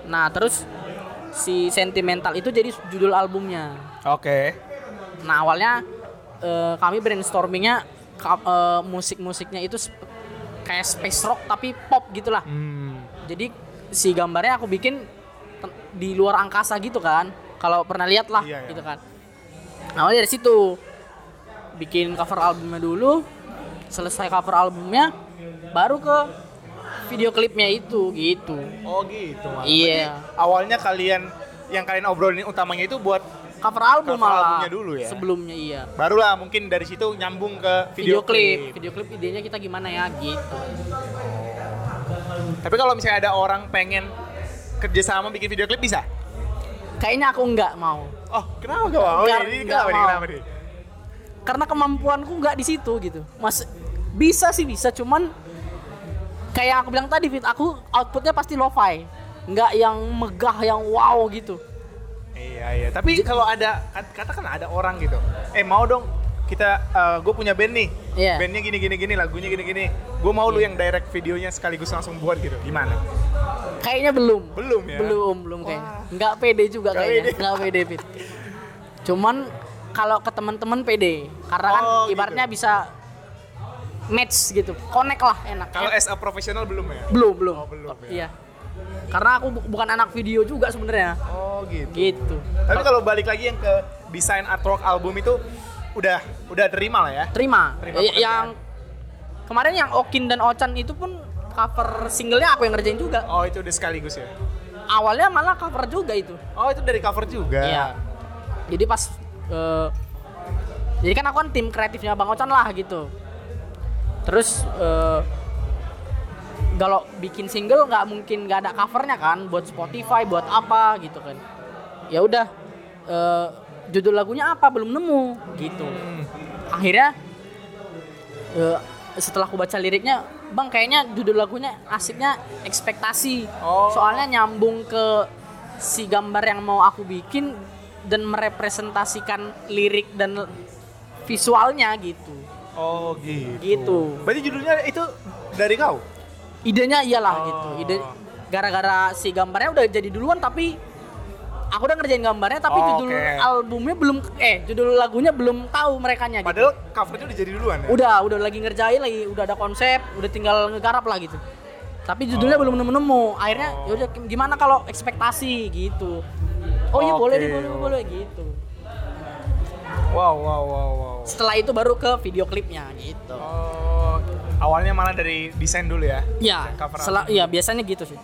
Nah, terus si sentimental itu jadi judul albumnya.
oke
Nah awalnya eh, kami brainstormingnya ka- eh, musik-musiknya itu sp- kayak space rock tapi pop gitulah.
hmm.
Jadi si gambarnya aku bikin ten- di luar angkasa gitu kan. Kalau pernah lihat lah
Iya, iya.
gitu kan. Nah, Awalnya dari situ bikin cover albumnya dulu, selesai cover albumnya, baru ke video klipnya itu gitu.
oh gitu malah.
Iya.
Berarti awalnya kalian yang kalian obrolin utamanya itu buat
Cover album
Cover
malah
albumnya dulu ya?
sebelumnya iya.
barulah mungkin dari situ nyambung ke
Video,
video,
klip, video klip idenya kita gimana ya gitu.
tapi kalau misalnya ada orang pengen kerjasama bikin video klip bisa
Kayaknya aku nggak mau.
Oh, kenapa gak mau?
Enggak,
ini
enggak
kenapa nih?
mau.
Kenapa nih?
Karena kemampuanku nggak di situ gitu. Mas bisa sih bisa, cuman kayak yang aku bilang tadi Fit, aku outputnya pasti lo-fi. Nggak yang megah, yang wow gitu.
Iya, iya. Tapi kalau ada kat- katakan ada orang gitu. Eh, mau dong kita gue punya band nih.
Iya.
Bandnya gini gini gini, lagunya gini gini. Gue mau lu yang direct videonya sekaligus langsung buat gitu. Gimana?
Kayaknya belum.
Belum ya?
Belum, belum kayaknya. Nggak pede juga
Nggak
kayaknya.
pede.
Nggak pede Fit. Cuman kalau ke teman-teman pede, karena kan
Oh, gitu.
ibaratnya bisa match gitu, connect lah enak. Eh,
Kalau as a profesional belum ya?
belum belum.
Oh, belum ya.
Iya. Karena aku bu- bukan anak video juga sebenarnya.
Oh, gitu.
Gitu.
Tapi kalau balik lagi yang ke desain artwork album itu udah udah terima lah ya.
Terima.
Terima
Y-
pekerjaan.
yang kemarin yang Okin dan Ochan itu pun cover singlenya aku yang ngerjain juga.
Oh, itu udah sekaligus ya.
Awalnya malah cover juga itu.
Oh, itu dari cover juga.
Iya. Jadi pas eh, jadi kan aku kan tim kreatifnya Bang Ochan lah gitu. Terus eh, kalau bikin single nggak mungkin nggak ada covernya kan buat Spotify buat apa gitu kan. Ya udah eh, judul lagunya apa belum nemu gitu. Akhirnya eh, setelah aku baca liriknya, Bang kayaknya judul lagunya asiknya ekspektasi.
Oh.
Soalnya nyambung ke si gambar yang mau aku bikin dan merepresentasikan lirik dan visualnya gitu.
Oh, gitu.
Gitu.
Berarti judulnya itu dari kau?
Idenya iyalah
Oh.
gitu. Ide gara-gara si gambarnya udah jadi duluan tapi aku udah ngerjain gambarnya tapi
Oh,
judul
oke.
albumnya belum eh judul lagunya belum tahu merekanya gitu.
Padahal covernya udah jadi duluan ya?
udah udah lagi ngerjain lagi udah ada konsep udah tinggal ngegarap lah gitu tapi
Oh.
judulnya belum nemu-nemu akhirnya yaudah gimana kalau ekspektasi gitu oh iya boleh
Oke.
nih, boleh boleh gitu
Wow, wow, wow, wow.
setelah itu baru ke video klipnya gitu
Oh, awalnya malah dari desain dulu ya?
ya
Desain cover
sel- ya biasanya gitu sih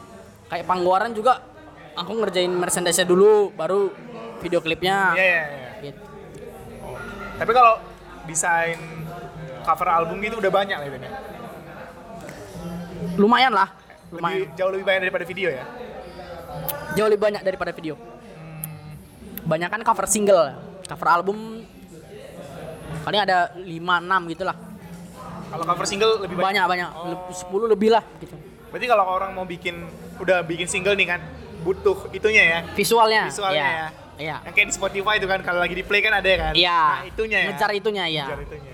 kayak panggoran juga aku ngerjain merchandise dulu baru video klipnya
Iya, iya, iya.
gitu.
Tapi kalau desain cover album gitu udah banyak lah itu ya?
lumayan lah
Lebih,
lumayan
jauh lebih banyak daripada video ya?
jauh lebih banyak daripada video
Hmm.
banyak kan cover single cover album paling ada 5 6 gitu lah
Kalau cover single lebih banyak. Oh.
banyak banyak Leb- 10 lebih lah gitu
Berarti kalau orang mau bikin, udah bikin single nih kan, butuh itunya ya?
visualnya
Visualnya
iya.
ya?
iya
Yang kayak di Spotify itu kan, kalau lagi di play kan ada ya kan?
iya
Nah, itunya ya?
ngejar itunya ya
Ngejar itunya.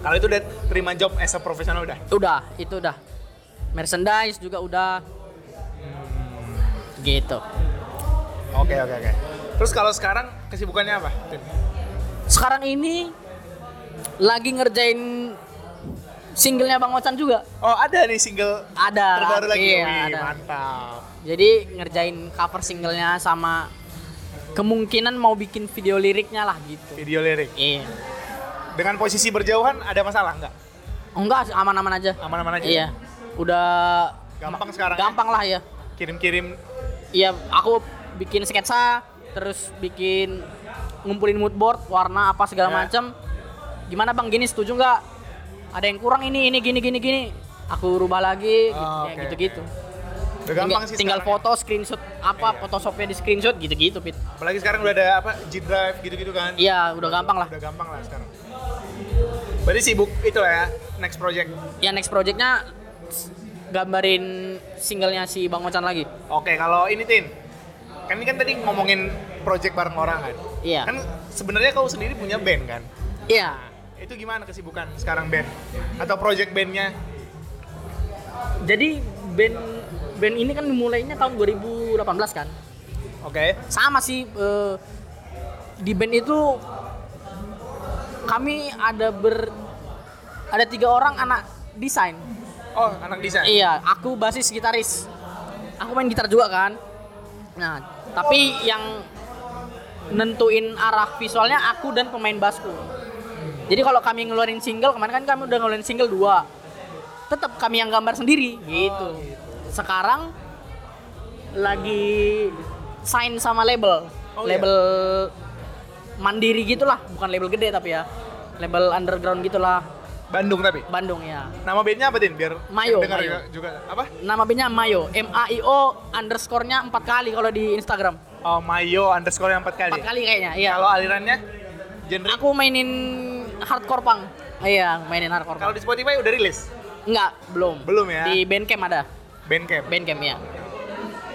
Kalau itu udah terima job as a profesional udah?
udah itu udah merchandise juga udah
Hmm.
gitu
Oke, oke, oke. Terus kalau sekarang kesibukannya apa? Tin?
sekarang ini lagi ngerjain singlenya Bang Ocan juga
Oh ada nih single
Ada,
terbaru lagi.
iya,
Wih,
ada.
Mantap.
jadi ngerjain cover singlenya sama kemungkinan mau bikin video liriknya lah gitu
Video lirik.
iya
Dengan posisi berjauhan ada masalah nggak?
enggak aman-aman aja
Aman-aman aja.
iya udah
Gampang sekarang. ya?
gampang lah ya
Kirim-kirim.
Iya, aku bikin sketsa, terus bikin ngumpulin mood board, warna apa segala
Ya.
macam. Gimana Bang gini setuju nggak? Ada yang kurang ini ini gini gini gini. Aku rubah lagi kayak
Oh, oke,
gitu-gitu.
Udah gampang
tinggal,
sih
tinggal
sekarang ya.
foto screenshot apa
Iya.
Photoshopnya di screenshot gitu-gitu Pit.
Apalagi sekarang udah ada apa G Drive gitu-gitu kan.
Iya, udah gampang lah.
Udah gampang lah sekarang. Berarti sibuk itu lah ya next project.
Ya next projectnya s- gambarin singlenya si Bang Ocan lagi.
Oke, kalau ini Tin. Kan ini kan tadi ngomongin project bareng orang kan.
Iya.
Kan sebenarnya kau sendiri punya band kan.
Iya.
Itu gimana kesibukan sekarang band atau project bandnya?
Jadi band band ini kan dimulainya tahun 2018 kan.
Oke.
Sama sih eh, di band itu kami ada ber ada tiga orang anak desain.
Oh, anak desain.
Iya, aku basis gitaris. Aku main gitar juga kan. Nah, tapi yang nentuin arah visualnya aku dan pemain basku. Jadi kalau kami ngeluarin single kemarin kan kami udah ngeluarin single dua. Tetap kami yang gambar sendiri gitu. Sekarang lagi sign sama label.
Oh, iya.
label mandiri gitulah, bukan label gede tapi ya. Label underground gitulah,
Bandung tapi.
Bandung ya.
Nama bandnya apa Tin? Biar
Mayo,
dengar
Mayo.
juga apa?
Nama bandnya Mayo, M A I O underscore-nya 4 kali kalau di Instagram.
Oh, Mayo underscore yang 4 kali.
4 kali kayaknya. Iya.
ya? Kalau alirannya genre
Aku mainin hardcore punk. Iya, mainin hardcore
kalau
punk.
di Spotify udah rilis
Enggak, belum.
Belum ya?
Di Bandcamp ada.
Bandcamp.
Bandcamp ya.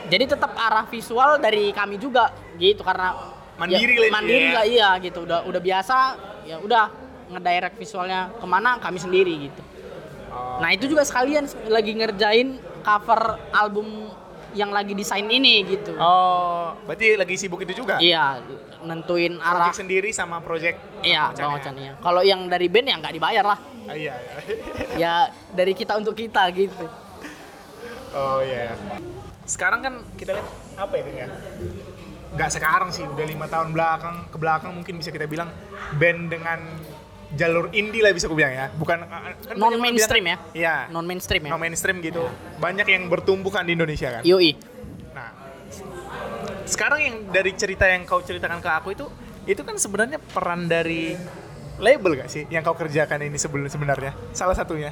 Jadi tetap arah visual dari kami juga gitu karena
Mandiri
ya,
lah ini
mandiri
ya.
lah iya gitu udah udah biasa ya udah ngedirect visualnya kemana kami sendiri gitu.
Oh.
Nah itu juga sekalian lagi ngerjain cover album yang lagi desain ini gitu.
Oh, berarti lagi sibuk itu juga?
Iya, nentuin arah.
Project sendiri sama project
Iya,
Ocan
Bang
ya?
Ocan iya. Kalau yang dari band ya nggak dibayar lah.
Ah, iya, iya.
Ya dari kita untuk kita gitu.
Oh iya. Sekarang kan kita lihat apa ya? Deng, ya? Nggak sekarang sih, udah lima tahun belakang ke belakang mungkin bisa kita bilang band dengan jalur indie lah bisa aku bilang ya. Bukan kan
Non
banyak orang
mainstream ya?
bilang- Iya. Non,
Non mainstream ya.
mainstream gitu. Banyak yang bertumbukan di Indonesia kan.
Yoi.
Nah, sekarang yang dari cerita yang kau ceritakan ke aku itu, itu kan sebenarnya peran dari label gak sih yang kau kerjakan ini sebelum sebenarnya salah satunya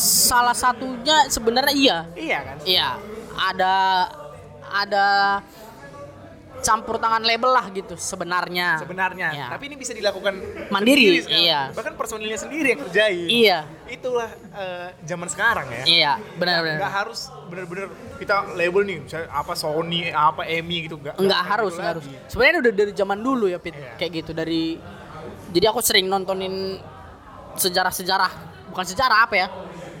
Salah satunya sebenarnya iya.
iya kan
Iya, ada ada campur tangan label lah gitu sebenarnya.
sebenarnya
Iya.
tapi ini bisa dilakukan
Mandiri,
sekarang.
iya.
bahkan personilnya sendiri yang kerjain
Iya.
itulah eh, zaman sekarang ya
Iya, benar-benar.
nggak harus bener-bener kita label nih misalnya apa Sony apa EMI gitu nggak
Enggak
nggak
harus,
gitu
enggak harus.
lagi.
Sebenarnya udah dari zaman dulu ya, Pit.
Iya.
Kayak gitu dari Jadi aku sering nontonin sejarah-sejarah, bukan sejarah apa ya?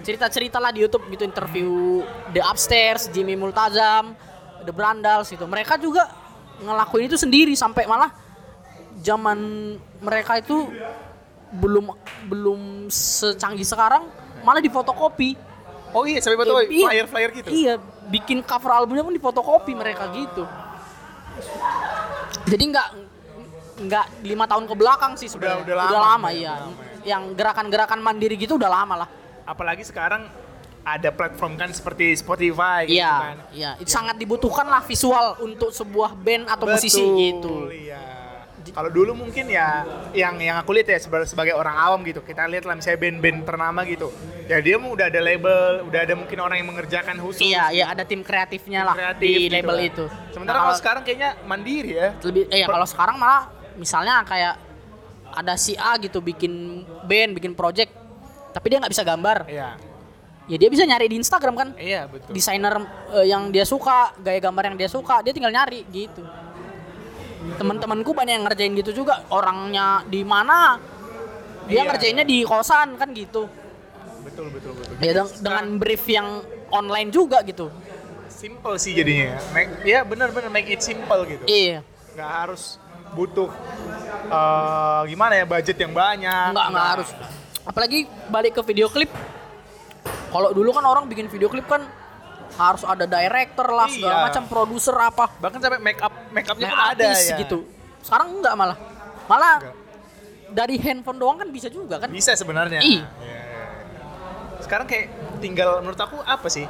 Cerita-cerita lah di YouTube gitu interview The Upstairs, Jimmy Multazam, The Brandals gitu. Mereka juga ngelakuin itu sendiri sampai malah zaman mereka itu belum belum secanggih sekarang malah difotokopi
oh iya sampai betul
Eh, iya.
flyer flyer gitu
Iya, bikin cover albumnya pun difotokopi mereka gitu. Jadi nggak nggak lima tahun ke belakang sih sebenarnya.
udah lama. ya? Udah
iya.
lama
Yang gerakan-gerakan mandiri gitu udah lama lah.
apalagi sekarang ada platform kan seperti Spotify gitu
Iya,
kan.
iya. Itu Sangat dibutuhkan lah visual untuk sebuah band atau musisi gitu.
Iya. Kalau dulu mungkin ya yang yang aku lihat ya sebagai, sebagai orang awam gitu. Kita lihat lah misalnya band-band ternama gitu. Ya dia mu- udah ada label, udah ada mungkin orang yang mengerjakan khusus
Iya, iya ada tim kreatifnya lah
kreatif
di
gitu
label
kan.
itu.
Sementara
Nah,
kalau sekarang kayaknya mandiri ya.
lebih eh ya, kalau sekarang malah misalnya kayak ada si A gitu bikin band, bikin project tapi dia nggak bisa gambar.
Iya.
Ya dia bisa nyari di Instagram kan.
Iya, betul.
desainer eh, yang dia suka, gaya gambar yang dia suka, dia tinggal nyari gitu. Teman-temanku banyak yang ngerjain gitu juga, orangnya di mana? Dia
Iya.
ngerjainnya di kosan kan gitu.
Betul, betul, betul.
Ya deng- dengan brief yang online juga gitu.
simple sih jadinya ya. Make, ya benar-benar make it simple gitu.
Iya.
Nggak harus butuh eh, gimana ya budget yang banyak. Nah,
Enggak, enggak harus. Apalagi balik ke video klip. Kalau dulu kan orang bikin video klip kan harus ada director lah segala
Iya.
macam produser apa.
Bahkan sampai make up make upnya pun
Make
ada
Nah, artis
ya.
gitu. Sekarang enggak malah. Malah
Enggak.
dari handphone doang kan bisa juga kan?
bisa sebenarnya
Ih.
Iya. sekarang kayak tinggal menurut aku apa sih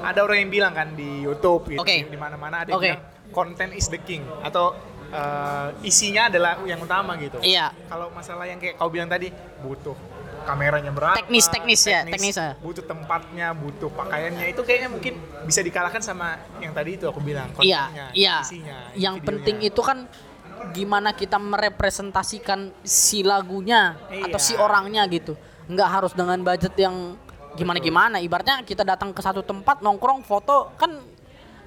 ada orang yang bilang kan di YouTube gitu
Oke.
di mana-mana ada yang
Oke.
bilang content is the king atau eh, isinya adalah yang utama gitu.
Iya.
Kalau masalah yang kayak kau bilang tadi butuh kameranya berapa?
Teknis, teknis ya, teknis, ya.
Butuh tempatnya, butuh pakaiannya itu kayaknya mungkin bisa dikalahkan sama yang tadi itu aku bilang. kontennya,
Iya, iya.
Isinya,
Yang
videonya.
penting itu kan gimana kita merepresentasikan si lagunya
Iya.
atau si orangnya gitu. Nggak harus dengan budget yang gimana-gimana. Ibaratnya kita datang ke satu tempat nongkrong foto kan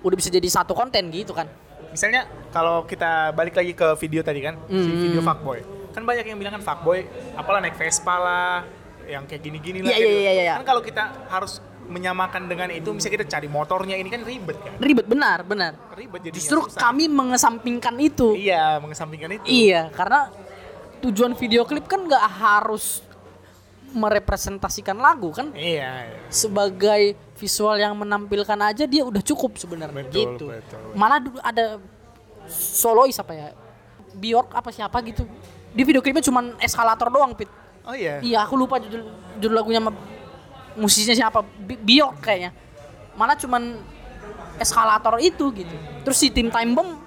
udah bisa jadi satu konten gitu kan.
Misalnya kalau kita balik lagi ke video tadi kan, si
Hmm.
video fuckboy. Kan banyak yang bilang kan fuckboy, apalah naik Vespa lah, yang kayak gini-gini
Iya,
lah.
iya,
gitu.
iya, iya, iya.
Kan kalau kita harus menyamakan dengan itu, misalnya kita cari motornya ini kan ribet kan.
Ribet benar, benar.
Ribet jadinya.
Justru
Iya, susah.
kami mengesampingkan itu.
Iya, mengesampingkan itu.
Iya, karena tujuan video klip kan nggak harus merepresentasikan lagu kan
Iya.
sebagai visual yang menampilkan aja dia udah cukup sebenarnya
Betul,
gitu.
betul.
Malah dulu ada solois apa ya? Bjork apa siapa gitu. Di video klipnya cuman eskalator doang, Pit.
Oh iya.
Iya, aku lupa judul judul lagunya sama musisinya siapa. Bi- Bjork kayaknya. Malah cuman eskalator itu gitu. Terus si tim Time Bomb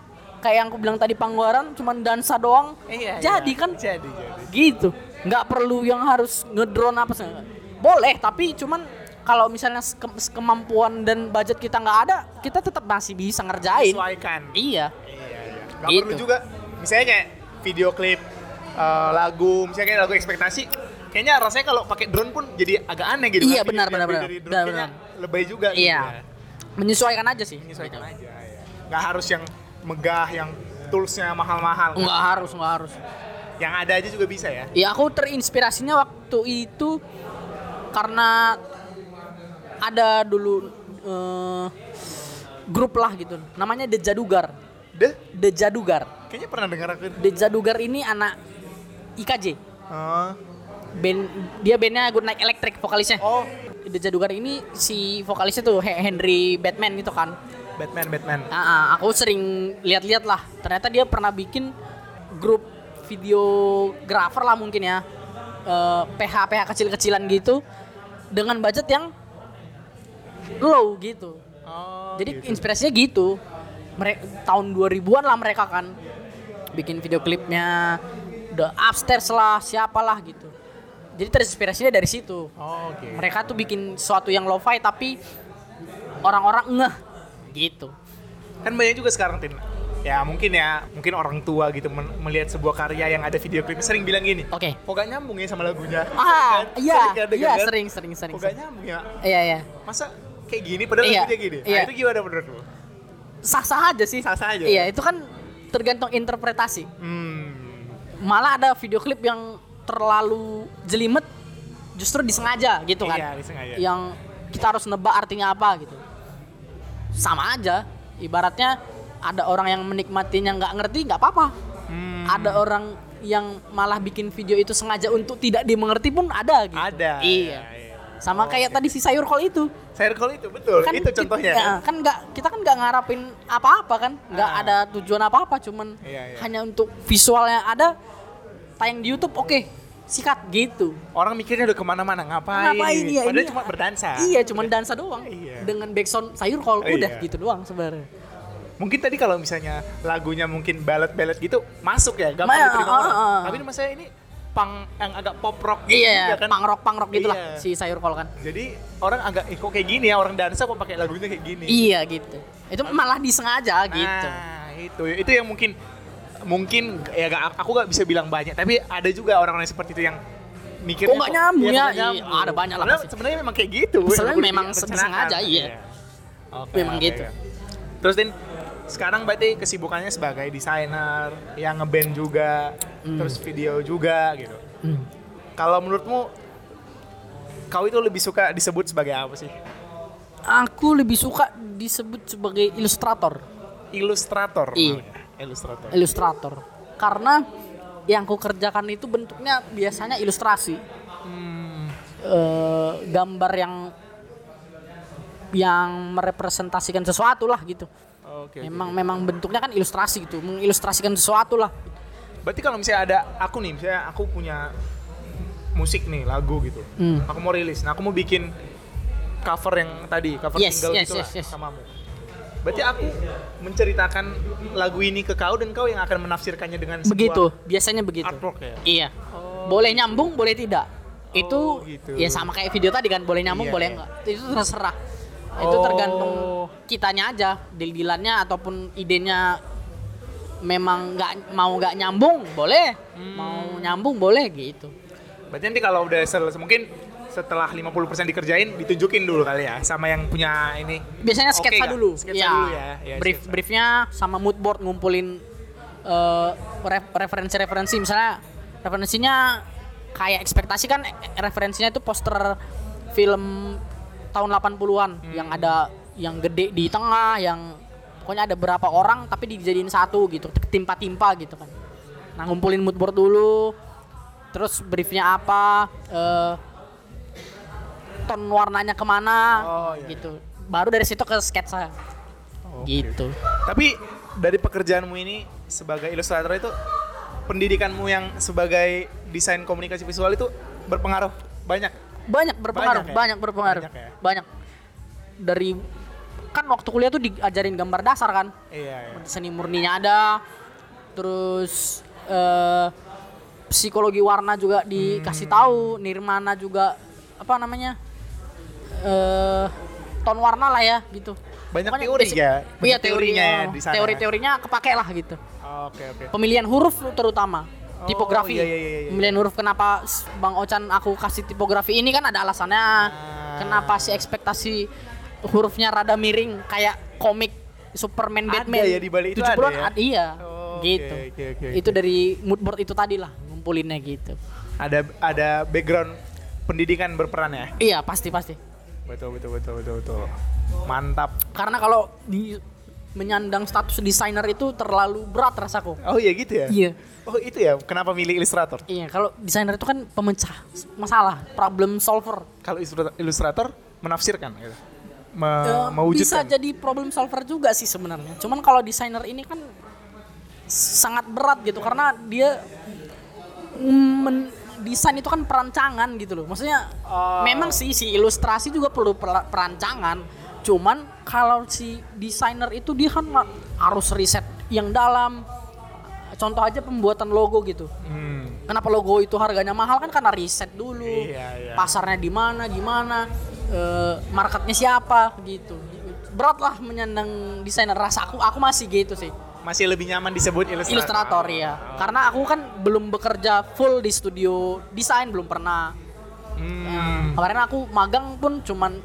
kayak yang aku bilang tadi Panggoran cuman dansa doang. jadi kan
Iya, Jadi, jadi.
gitu nggak perlu yang harus ngedrone apa sih boleh tapi cuman kalau misalnya ske- kemampuan dan budget kita nggak ada kita tetap masih bisa ngerjain
Sesuaikan.
iya
Iya, iya. Gak
Gitu.
perlu juga. Misalnya kayak video klip eh, lagu, misalnya kayak lagu ekspektasi, kayaknya rasanya kalau pakai drone pun jadi agak aneh gitu.
Iya,
kan.
benar,
Video
benar,
dari
benar.
drone
Benar,
kayaknya
benar.
Lebay juga. gitu
iya
ya.
menyesuaikan aja sih
Menyesuaikan
Gitu.
aja. Ya. Gak harus yang megah, yang toolsnya mahal-mahal. kan.
nggak harus nggak harus
Yang ada aja juga bisa ya.
ya aku terinspirasinya waktu itu karena ada dulu eh, grup lah gitu namanya The Jadugar
Deh,
The Jadugar
kayaknya pernah dengar aku.
The Jadugar ini anak IKJ
Oh.
band dia bandnya Good Night Electric vokalisnya
oh,
The Jadugar ini si vokalisnya tuh He- Henry Batman gitu kan
Batman, Batman.
Ah, ah, aku sering lihat-lihat lah ternyata dia pernah bikin grup videografer lah mungkin ya Eh, PH PH kecil-kecilan gitu dengan budget yang low gitu
Oh,
jadi
gitu.
inspirasinya gitu mereka tahun 2000-an lah mereka kan bikin video klipnya The Upstairs lah siapalah gitu jadi terinspirasinya dari situ
Oh, oke.
mereka tuh bikin sesuatu yang lo-fi tapi orang-orang ngeh gitu
kan banyak juga sekarang tin ya mungkin ya mungkin orang tua gitu men- melihat sebuah karya yang ada video klipnya sering bilang gini
Oke.
kok gak nyambung ya sama lagunya
ah
Kan?
iya
Sering kan,
iya
kan?
sering sering sering,
kok
sering.
gak nyambung ya
iya iya
masa kayak gini padahal
Iya,
lagunya gini nah,
iya.
itu gimana menurutmu
sah-sah aja sih
Sah-sah aja.
iya itu kan tergantung interpretasi
hmm
malah ada video klip yang terlalu jelimet justru disengaja gitu kan
iya disengaja
yang kita harus nebak artinya apa gitu sama aja ibaratnya ada orang yang menikmatinya nggak ngerti nggak apa-apa
Hmm.
ada orang yang malah bikin video itu sengaja untuk tidak dimengerti pun ada gitu
ada
iya
iya.
sama kayak tadi si sayur kol itu
saya recall itu betul itu
kit-
contohnya
ya, kan nggak kita kan nggak ngarapin apa-apa kan nggak
Ah.
ada tujuan apa-apa cuman
Iya, iya.
hanya untuk visualnya ada tayang di YouTube oke sikat gitu
orang mikirnya udah kemana-mana ngapain,
ngapain ya
Ah, iya, padahal
ini-
cuma berdansa
iya cuma dansa doang
Iya.
dengan backsound sayur kol
Iya.
udah gitu doang sebenarnya
mungkin tadi kalau misalnya lagunya mungkin balet-balet gitu masuk ya gampang
Ma-
diterima
ah,
orang.
ah, ah.
tapi ini saya ini pang yang agak pop rock gitu
iya
juga kan
pangrok pangrok gitulah
Iya.
si sayur kol kan
jadi orang agak eh, kok kayak gini ya orang dansa kok pakai lagunya kayak gini
iya gitu itu malah disengaja
nah,
gitu
itu itu yang mungkin mungkin ya gak, aku gak bisa bilang banyak tapi ada juga orang-orang yang seperti itu yang mikirnya
Kok nggak nyambung ya?
iya, nggak nyambung.
Iya, ada banyak lah
Padahal
pasti.
sebenarnya memang kayak gitu
Sebenarnya
Walaupun
memang
direncanakan.
sengaja, iya.
Oke,
Memang
oke,
gitu.
oke. terus Din sekarang berarti kesibukannya sebagai desainer yang ngeband juga terus video juga gitu
Hmm.
kalau menurutmu kau itu lebih suka disebut sebagai apa sih
aku lebih suka disebut sebagai ilustrator
ilustrator
Iya.
namanya. ilustrator
ilustrator karena yang ku kerjakan itu bentuknya biasanya ilustrasi Eh, gambar yang yang merepresentasikan sesuatu lah gitu
oke oke.
memang memang bentuknya kan ilustrasi gitu mengilustrasikan sesuatu lah
berarti kalau misalnya ada aku nih misalnya aku punya musik nih lagu gitu
Hmm.
aku mau rilis nah aku mau bikin cover yang tadi cover
Yes,
single
yes, yes,
gitu lah
yes.
samamu Berarti aku menceritakan lagu ini ke kau dan kau yang akan menafsirkannya dengan sebuah
begitu biasanya begitu
artwork ya.
iya boleh nyambung boleh tidak itu
gitu.
ya sama kayak video tadi kan boleh nyambung
Iya,
boleh
iya.
enggak itu terserah itu
Oh.
tergantung kitanya aja deal-dealannya ataupun idenya memang nggak mau nggak nyambung boleh
Hmm.
mau nyambung boleh gitu
Berarti nanti kalau udah selesai mungkin setelah 50% dikerjain ditunjukin dulu kali ya sama yang punya ini.
biasanya
Oke
sketsa
nggak?
dulu Iya.
Sketsa dulu ya. Ya,
brief
sketsa.
briefnya sama mood board ngumpulin eh, ref- referensi-referensi misalnya referensinya kayak ekspektasi kan eh, referensinya itu poster film tahun 80-an
Hmm.
yang ada yang gede di tengah yang pokoknya ada berapa orang tapi dijadiin satu gitu timpa-timpa gitu kan nah ngumpulin mood board dulu terus briefnya apa eh, ton warnanya kemana
Oh, iya.
gitu baru dari situ ke sketsa gitu
Tapi dari pekerjaanmu ini sebagai ilustrator itu pendidikanmu yang sebagai desain komunikasi visual itu berpengaruh banyak.
banyak berpengaruh
Banyak
banyak,
ya?
berpengaruh
Banyak
banyak,
ya?
dari kan waktu kuliah tuh diajarin gambar dasar kan
Iya. iya.
seni murninya ada terus eh, psikologi warna juga dikasih tahu nirmana juga apa namanya eh ton warna lah ya gitu
Banyak teori ya, banyak
iya
teorinya
teorinya
ya di sana ya.
teori-teorinya kepake lah gitu
Oke oke.
pemilihan huruf terutama
Oh,
tipografi
iya, iya, iya, iya.
pemilihan huruf kenapa s- bang Ocan aku kasih tipografi ini kan ada alasannya
Ah.
kenapa si ekspektasi hurufnya rada miring kayak komik Superman
Ada
Batman
ya, di balik itu
70-an
ada ya?
ad- iya
Oh, oke,
gitu
oke, oke,
itu
oke.
dari mood board itu tadi lah ngumpulinnya gitu
Ada ada background pendidikan berperan ya.
iya pasti pasti
Betul betul betul betul betul. Mantap.
karena kalau di menyandang status desainer itu terlalu berat rasaku
Oh iya gitu ya?
Iya.
Oh itu ya, kenapa milih ilustrator?
iya kalau desainer itu kan pemecah masalah problem solver
Kalau ilustra- ilustrator menafsirkan gitu.
Eh,
Me-
bisa
mewujudkan.
jadi problem solver juga sih sebenarnya. Cuman kalau desainer ini kan sangat berat gitu karena dia men- desain itu kan perancangan gitu loh. Maksudnya memang sih si ilustrasi juga perlu per- perancangan. Cuman kalau si desainer itu dia kan ma- harus riset yang dalam. Contoh aja pembuatan logo gitu.
Hmm.
Kenapa logo itu harganya mahal kan karena riset dulu.
Iya, iya.
Pasarnya di mana, gimana, eh, marketnya siapa gitu. Berat lah menyandang desainer rasa aku, aku masih gitu sih.
Masih lebih nyaman disebut ilustrator.
Ilustrator ya. Karena aku kan belum bekerja full di studio desain belum pernah. Ya.
Hmm.
Kemarin aku magang pun cuman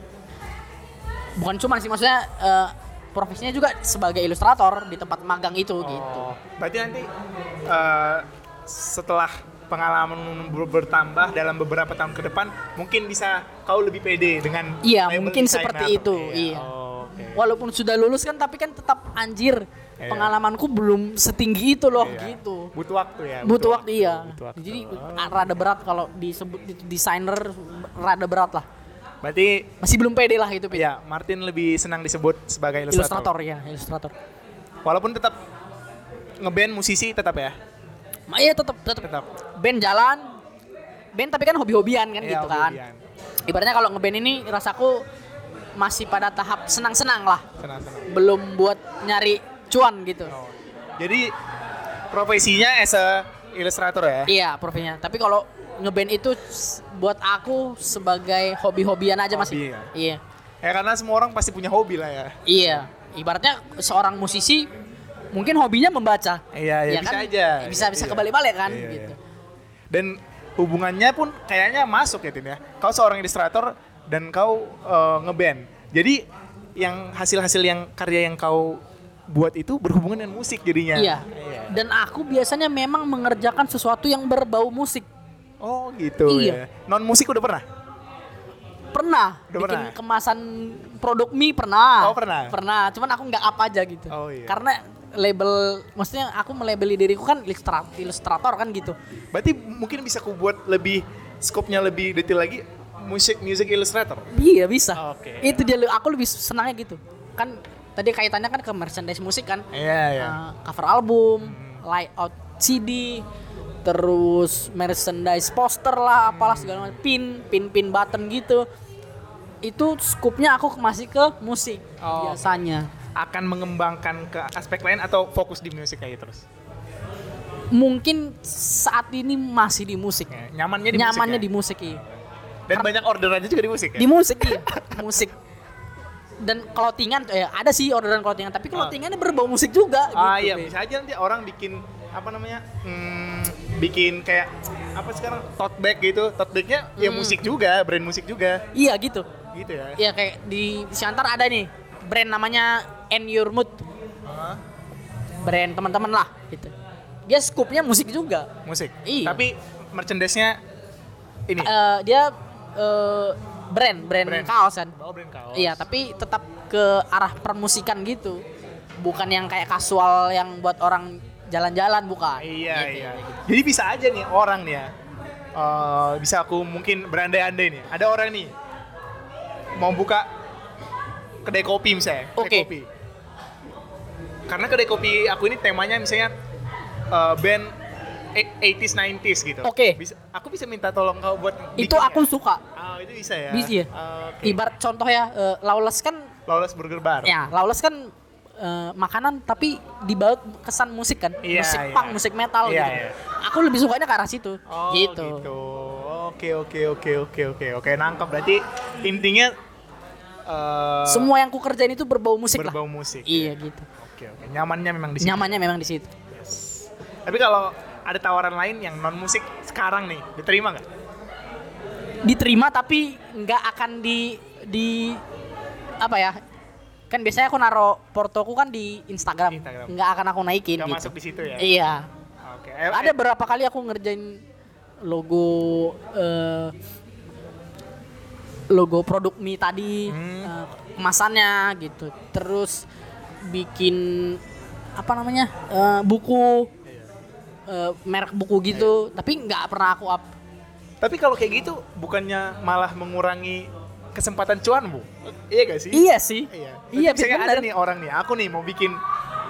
bukan cuman sih maksudnya eh, profesinya juga sebagai ilustrator di tempat magang itu gitu.
Oh, Berarti nanti eh, setelah pengalaman ber- bertambah dalam beberapa tahun ke depan, mungkin bisa kau lebih pede dengan
Iya,
label
mungkin
designer.
seperti itu, iya.
oh, oke.
Walaupun sudah lulus kan tapi kan tetap anjir.
Iya.
Pengalamanku belum setinggi itu loh
Iya.
gitu.
Butuh waktu ya.
butuh waktu iya
butuh waktu.
jadi ah, rada berat kalau disebut itu desainer rada berat lah
Berarti
masih belum pede lah itu Pit.
Ya, Martin lebih senang disebut sebagai ilustrator.
ilustrator ya ilustrator
Walaupun tetap ngeband musisi tetap ya.
Ma, iya tetap tetap
Tetap.
band jalan band tapi kan hobi-hobian kan
Iya,
gitu kan
hobi-hobian.
ibaratnya kalau ngeband ini rasaku masih pada tahap senang-senang lah
Senang-senang.
belum buat nyari cuan gitu
Oh. Jadi profesinya as a ilustrator ya.
iya profilnya tapi kalau ngeband itu s- buat aku sebagai hobi-hobian aja
Hobi
masih
ya?
iya
Ya karena semua orang pasti punya hobi lah ya.
Iya, ibaratnya seorang musisi mungkin hobinya membaca. kan?
Iya, iya, bisa aja.
Bisa bisa
Iya.
kebalik-balik kan
Iya,
gitu.
iya. Dan hubungannya pun kayaknya masuk ya Tim ya. Kau seorang ilustrator dan kau eh, ngeband. Jadi yang hasil-hasil yang karya yang kau buat itu berhubungan dengan musik jadinya.
Iya. Dan aku biasanya memang mengerjakan sesuatu yang berbau musik.
Oh gitu
Iya.
ya. Non musik udah pernah?
Pernah
Udah
bikin
pernah?
kemasan produk mie pernah.
Oh, pernah?
Pernah, cuman aku nggak apa aja gitu.
Oh, iya.
Karena label maksudnya aku melabeli diriku kan ilustra- ilustrator kan gitu.
Berarti mungkin bisa ku buat lebih skopnya lebih detail lagi musik music illustrator.
Iya bisa.
Oke.
Itu dia aku lebih senangnya gitu. Kan tadi kaitannya kan ke merchandise musik kan.
Iya iya. Hmm.
Uh, cover album, layout CD, terus merchandise poster lah, apalah segala macam, pin, pin-pin button gitu. Itu scoopnya aku masih ke musik
Oh.
biasanya.
akan mengembangkan ke aspek lain atau fokus di musik aja terus?
Mungkin saat ini masih di musik.
Ya, nyamannya di
Nyamannya
musik.
di musik iya.
ya? Dan banyak orderannya juga di musik ya?
Di musik iya. musik. Dan clothingan eh, ada sih orderan clothingan, tapi clothingannya berbau musik juga
ah
gitu,
iya,
Be.
bisa aja nanti orang bikin apa namanya? hmm, bikin kayak apa sekarang tote bag gitu. Tote bagnya ya
Hmm.
musik juga, brand musik juga
Iya gitu.
gitu ya.
Iya kayak di Siantar ada nih brand namanya End Your Mood.
Ah,
Brand teman-teman lah gitu. Dia scoopnya musik juga.
musik.
Iya.
Tapi merchandise-nya ini.
Eh, dia eh, brand, brand
Brand.
kaos kan.
Oh, brand kaos.
Iya, tapi tetap ke arah permusikan gitu. Bukan yang kayak kasual yang buat orang jalan-jalan bukan.
Iya,
Gitu,
iya.
gitu.
Jadi bisa aja nih orang nih ya. eh, bisa aku mungkin berandai-andai nih. Ada orang nih mau buka kedai kopi misalnya, kedai
Oke.
kopi. Karena kedai kopi aku ini temanya misalnya eh, band e- 80s 90s gitu.
Oke.
Bisa, aku bisa minta tolong kau buat
Itu
bikinnya?
aku suka.
Ah, itu bisa ya.
Bisa ya?
Oke.
Ibarat contoh ya, eh, Lawless kan
Lawless Burger Bar.
ya, Lawless kan eh, makanan tapi dibalut kesan musik kan.
Iya,
musik
iya.
punk, musik metal
Iya,
gitu.
iya.
Aku lebih sukanya ke arah situ.
Oh gitu.
gitu.
Oke oke oke oke oke oke nangkep. Berarti intinya eh,
Semua yang ku kerjain itu berbau musik
berbau
lah.
musik.
Iya gitu.
Oke oke. Nyamannya memang di sini.
Nyamannya memang di situ.
Tapi kalau ada tawaran lain yang non musik sekarang nih diterima nggak?
diterima tapi nggak akan di di apa ya kan biasanya aku naro portoku kan di Instagram
Instagram.
nggak akan aku naikin
Nggak
gitu.
masuk di situ ya?
iya
Oke. Eh,
ada
eh,
berapa kali aku ngerjain logo eh, logo produk mie tadi
Hmm.
eh, kemasannya gitu terus bikin apa namanya eh, buku eh, merek buku
Iya.
gitu tapi nggak pernah aku up
tapi kalau kayak gitu bukannya malah mengurangi kesempatan cuan bu? Iya gak sih?
iya sih
Iya.
iya
Berarti misalnya ada
benar.
nih orang nih, aku nih mau bikin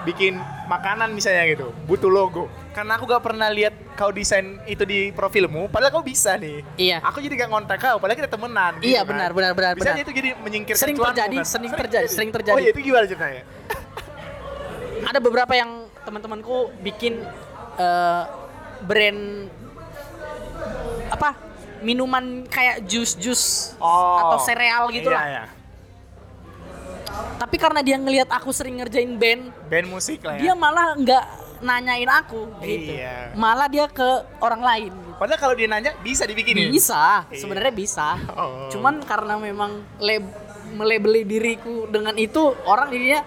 bikin makanan misalnya gitu, butuh logo. Karena aku gak pernah lihat kau desain itu di profilmu, padahal kau bisa nih.
Iya.
Aku jadi gak ngontak kau, padahal kita temenan.
Iya,
kan.
benar, benar, benar,
Bisa
benar.
aja itu jadi menyingkirkan
Sering
cuanmu,
terjadi,
kan?
sering terjadi, sering terjadi.
Oh iya, itu gimana ceritanya?
ada beberapa yang teman-temanku bikin eh, brand apa minuman kayak jus-jus atau sereal gitu
Oh, iya,
lah.
Iya.
Tapi karena dia ngelihat aku sering ngerjain band,
Band musik lah ya.
dia malah nggak nanyain aku gitu.
Iya.
Malah dia ke orang lain. gitu.
Padahal kalau dia nanya bisa dibikinin.
Bisa,
Iya.
sebenarnya bisa.
Oh.
Cuman karena memang lab, melebeli diriku dengan itu orang jadinya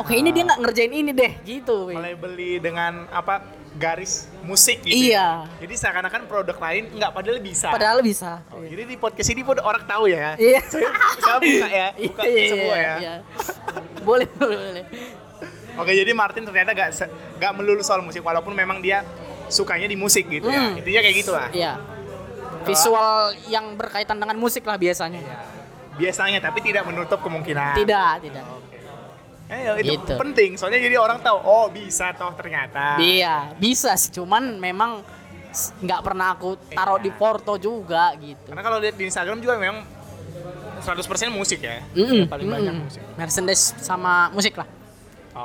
oke ini
Ah.
dia nggak ngerjain ini deh gitu. weh.
Mulai beli dengan apa garis musik gitu.
Iya.
ya. Jadi seakan-akan produk lain nggak padahal bisa.
Padahal bisa.
Oh, jadi di podcast ini pun orang tahu ya.
Iya.
Saya, saya buka ya, buka
Iya, iya,
semua ya.
iya. boleh, boleh, boleh.
Oke, jadi Martin ternyata gak se- gak melulu soal musik walaupun memang dia sukanya di musik gitu ya.
Hmm.
Intinya kayak gitu lah.
Iya. Visual yang berkaitan dengan musik lah biasanya.
Iya. Biasanya tapi tidak menutup kemungkinan.
Tidak, tidak.
Eh, ya, itu
Gitu.
penting soalnya jadi orang tahu oh bisa toh ternyata.
Iya, bisa sih. Cuman memang s- nggak pernah aku taruh
Iya.
di Porto juga gitu.
Karena kalau lihat di Instagram juga memang 100% musik ya.
Mm-mm,
Ya, Paling banyak
mm-mm.
musik.
Merchandise sama musik lah.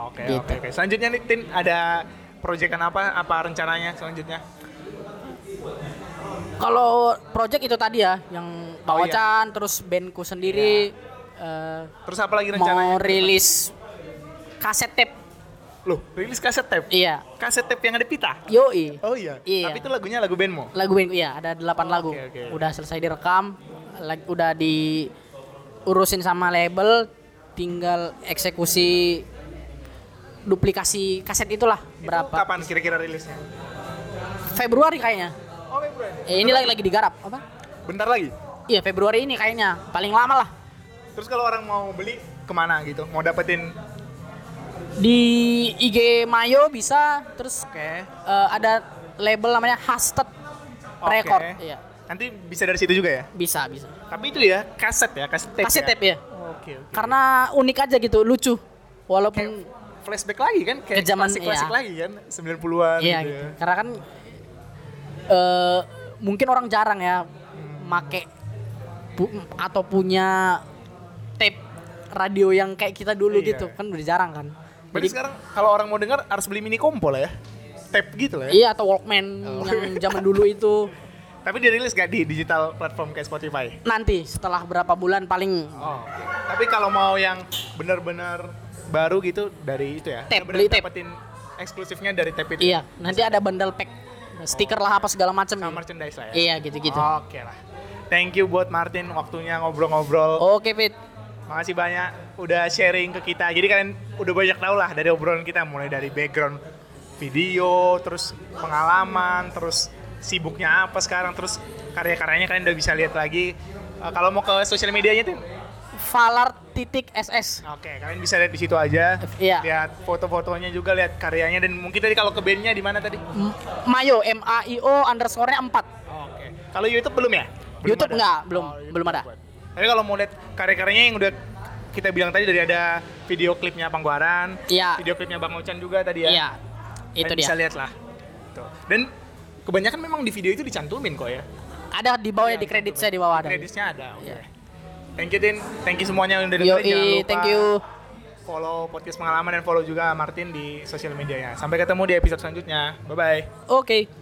Oke,
Gitu.
oke, oke. Selanjutnya nih Tin ada proyekan apa apa rencananya selanjutnya?
Kalau project itu tadi ya, yang Pak
Oh, iya.
Wacan, terus bandku sendiri eh,
Terus apa lagi
mau
rencananya?
rilis kaset tape.
Loh, rilis kaset tape.
Iya.
Kaset tape yang ada pita.
Yoi.
Oh iya.
Iya.
Tapi itu lagunya lagu bandmu.
lagu bandku iya ada 8 lagu
Oh, oke, oke.
udah selesai direkam lag- udah diurusin sama label tinggal eksekusi duplikasi kaset itulah
Itu
berapa
kapan kira-kira rilisnya?
Februari kayaknya
Oh, Februari.
eh, ini lagi lagi digarap apa
Bentar lagi.
iya Februari ini kayaknya paling lama lah
Terus kalau orang mau beli kemana gitu? Mau dapetin?
di IG Mayo bisa terus
Oke.
eh, ada label namanya Hasted
Oke.
Record iya
Nanti bisa dari situ juga ya.
bisa bisa
Tapi itu ya kaset ya, kaset tape.
kaset
ya?
tape ya
Oke, oke.
karena unik aja gitu lucu walaupun
flashback lagi kan kayak
Ke zaman,
klasik-klasik
iya.
lagi kan 90-an
Iya
gitu.
gitu.
ya.
Karena kan eh mungkin orang jarang ya make bu- atau punya tape radio yang kayak kita dulu
Iya.
gitu kan udah jarang kan
Berarti sekarang kalau orang mau dengar harus beli mini kompo lah ya. Tape gitu lah ya.
iya atau Walkman
Oh.
yang zaman dulu itu
Tapi dirilis gak di digital platform kayak Spotify?
nanti setelah berapa bulan paling
Oh. oke. Tapi kalau mau yang benar-benar baru gitu dari itu ya.
Tape, beli
bener-bener
tape.
dapetin eksklusifnya dari tape itu.
iya nanti ada bundle pack stiker lah apa segala macam
Sama merchandise lah ya.
iya gitu-gitu
Oke lah. Thank you buat Martin waktunya ngobrol-ngobrol.
oke Fit
Makasih banyak udah sharing ke kita. Jadi kalian udah banyak tau lah dari obrolan kita mulai dari background video, terus pengalaman, terus sibuknya apa sekarang, terus karya-karyanya kalian udah bisa lihat lagi. Eh, kalau mau ke sosial medianya tuh
Valar titik SS
Oke, kalian bisa lihat di situ aja.
Iya.
Lihat foto-fotonya juga, lihat karyanya dan mungkin tadi kalau ke bandnya di mana tadi?
M- Mayo M A I O underscore-nya 4
Oke. Kalau YouTube belum ya?
YouTube nggak, belum,
YouTube
belum ada.
Tapi kalau mau lihat karya-karyanya yang udah kita bilang tadi dari ada video klipnya Pangguaran,
Iya.
video klipnya Bang Ocan juga tadi ya.
iya itu
Kalian
dia
Bisa lihat lah. Tuh. Dan kebanyakan memang di video itu dicantumin kok ya.
ada di bawah ya di kredit saya di bawah ada
Kreditnya ada. Oke.
Iya.
Thank you Din, thank you semuanya yang udah dengerin. Jangan
Yoi,
lupa
thank you.
follow ya. podcast pengalaman dan follow juga Martin di sosial medianya. Sampai ketemu di episode selanjutnya. Bye bye.
Oke.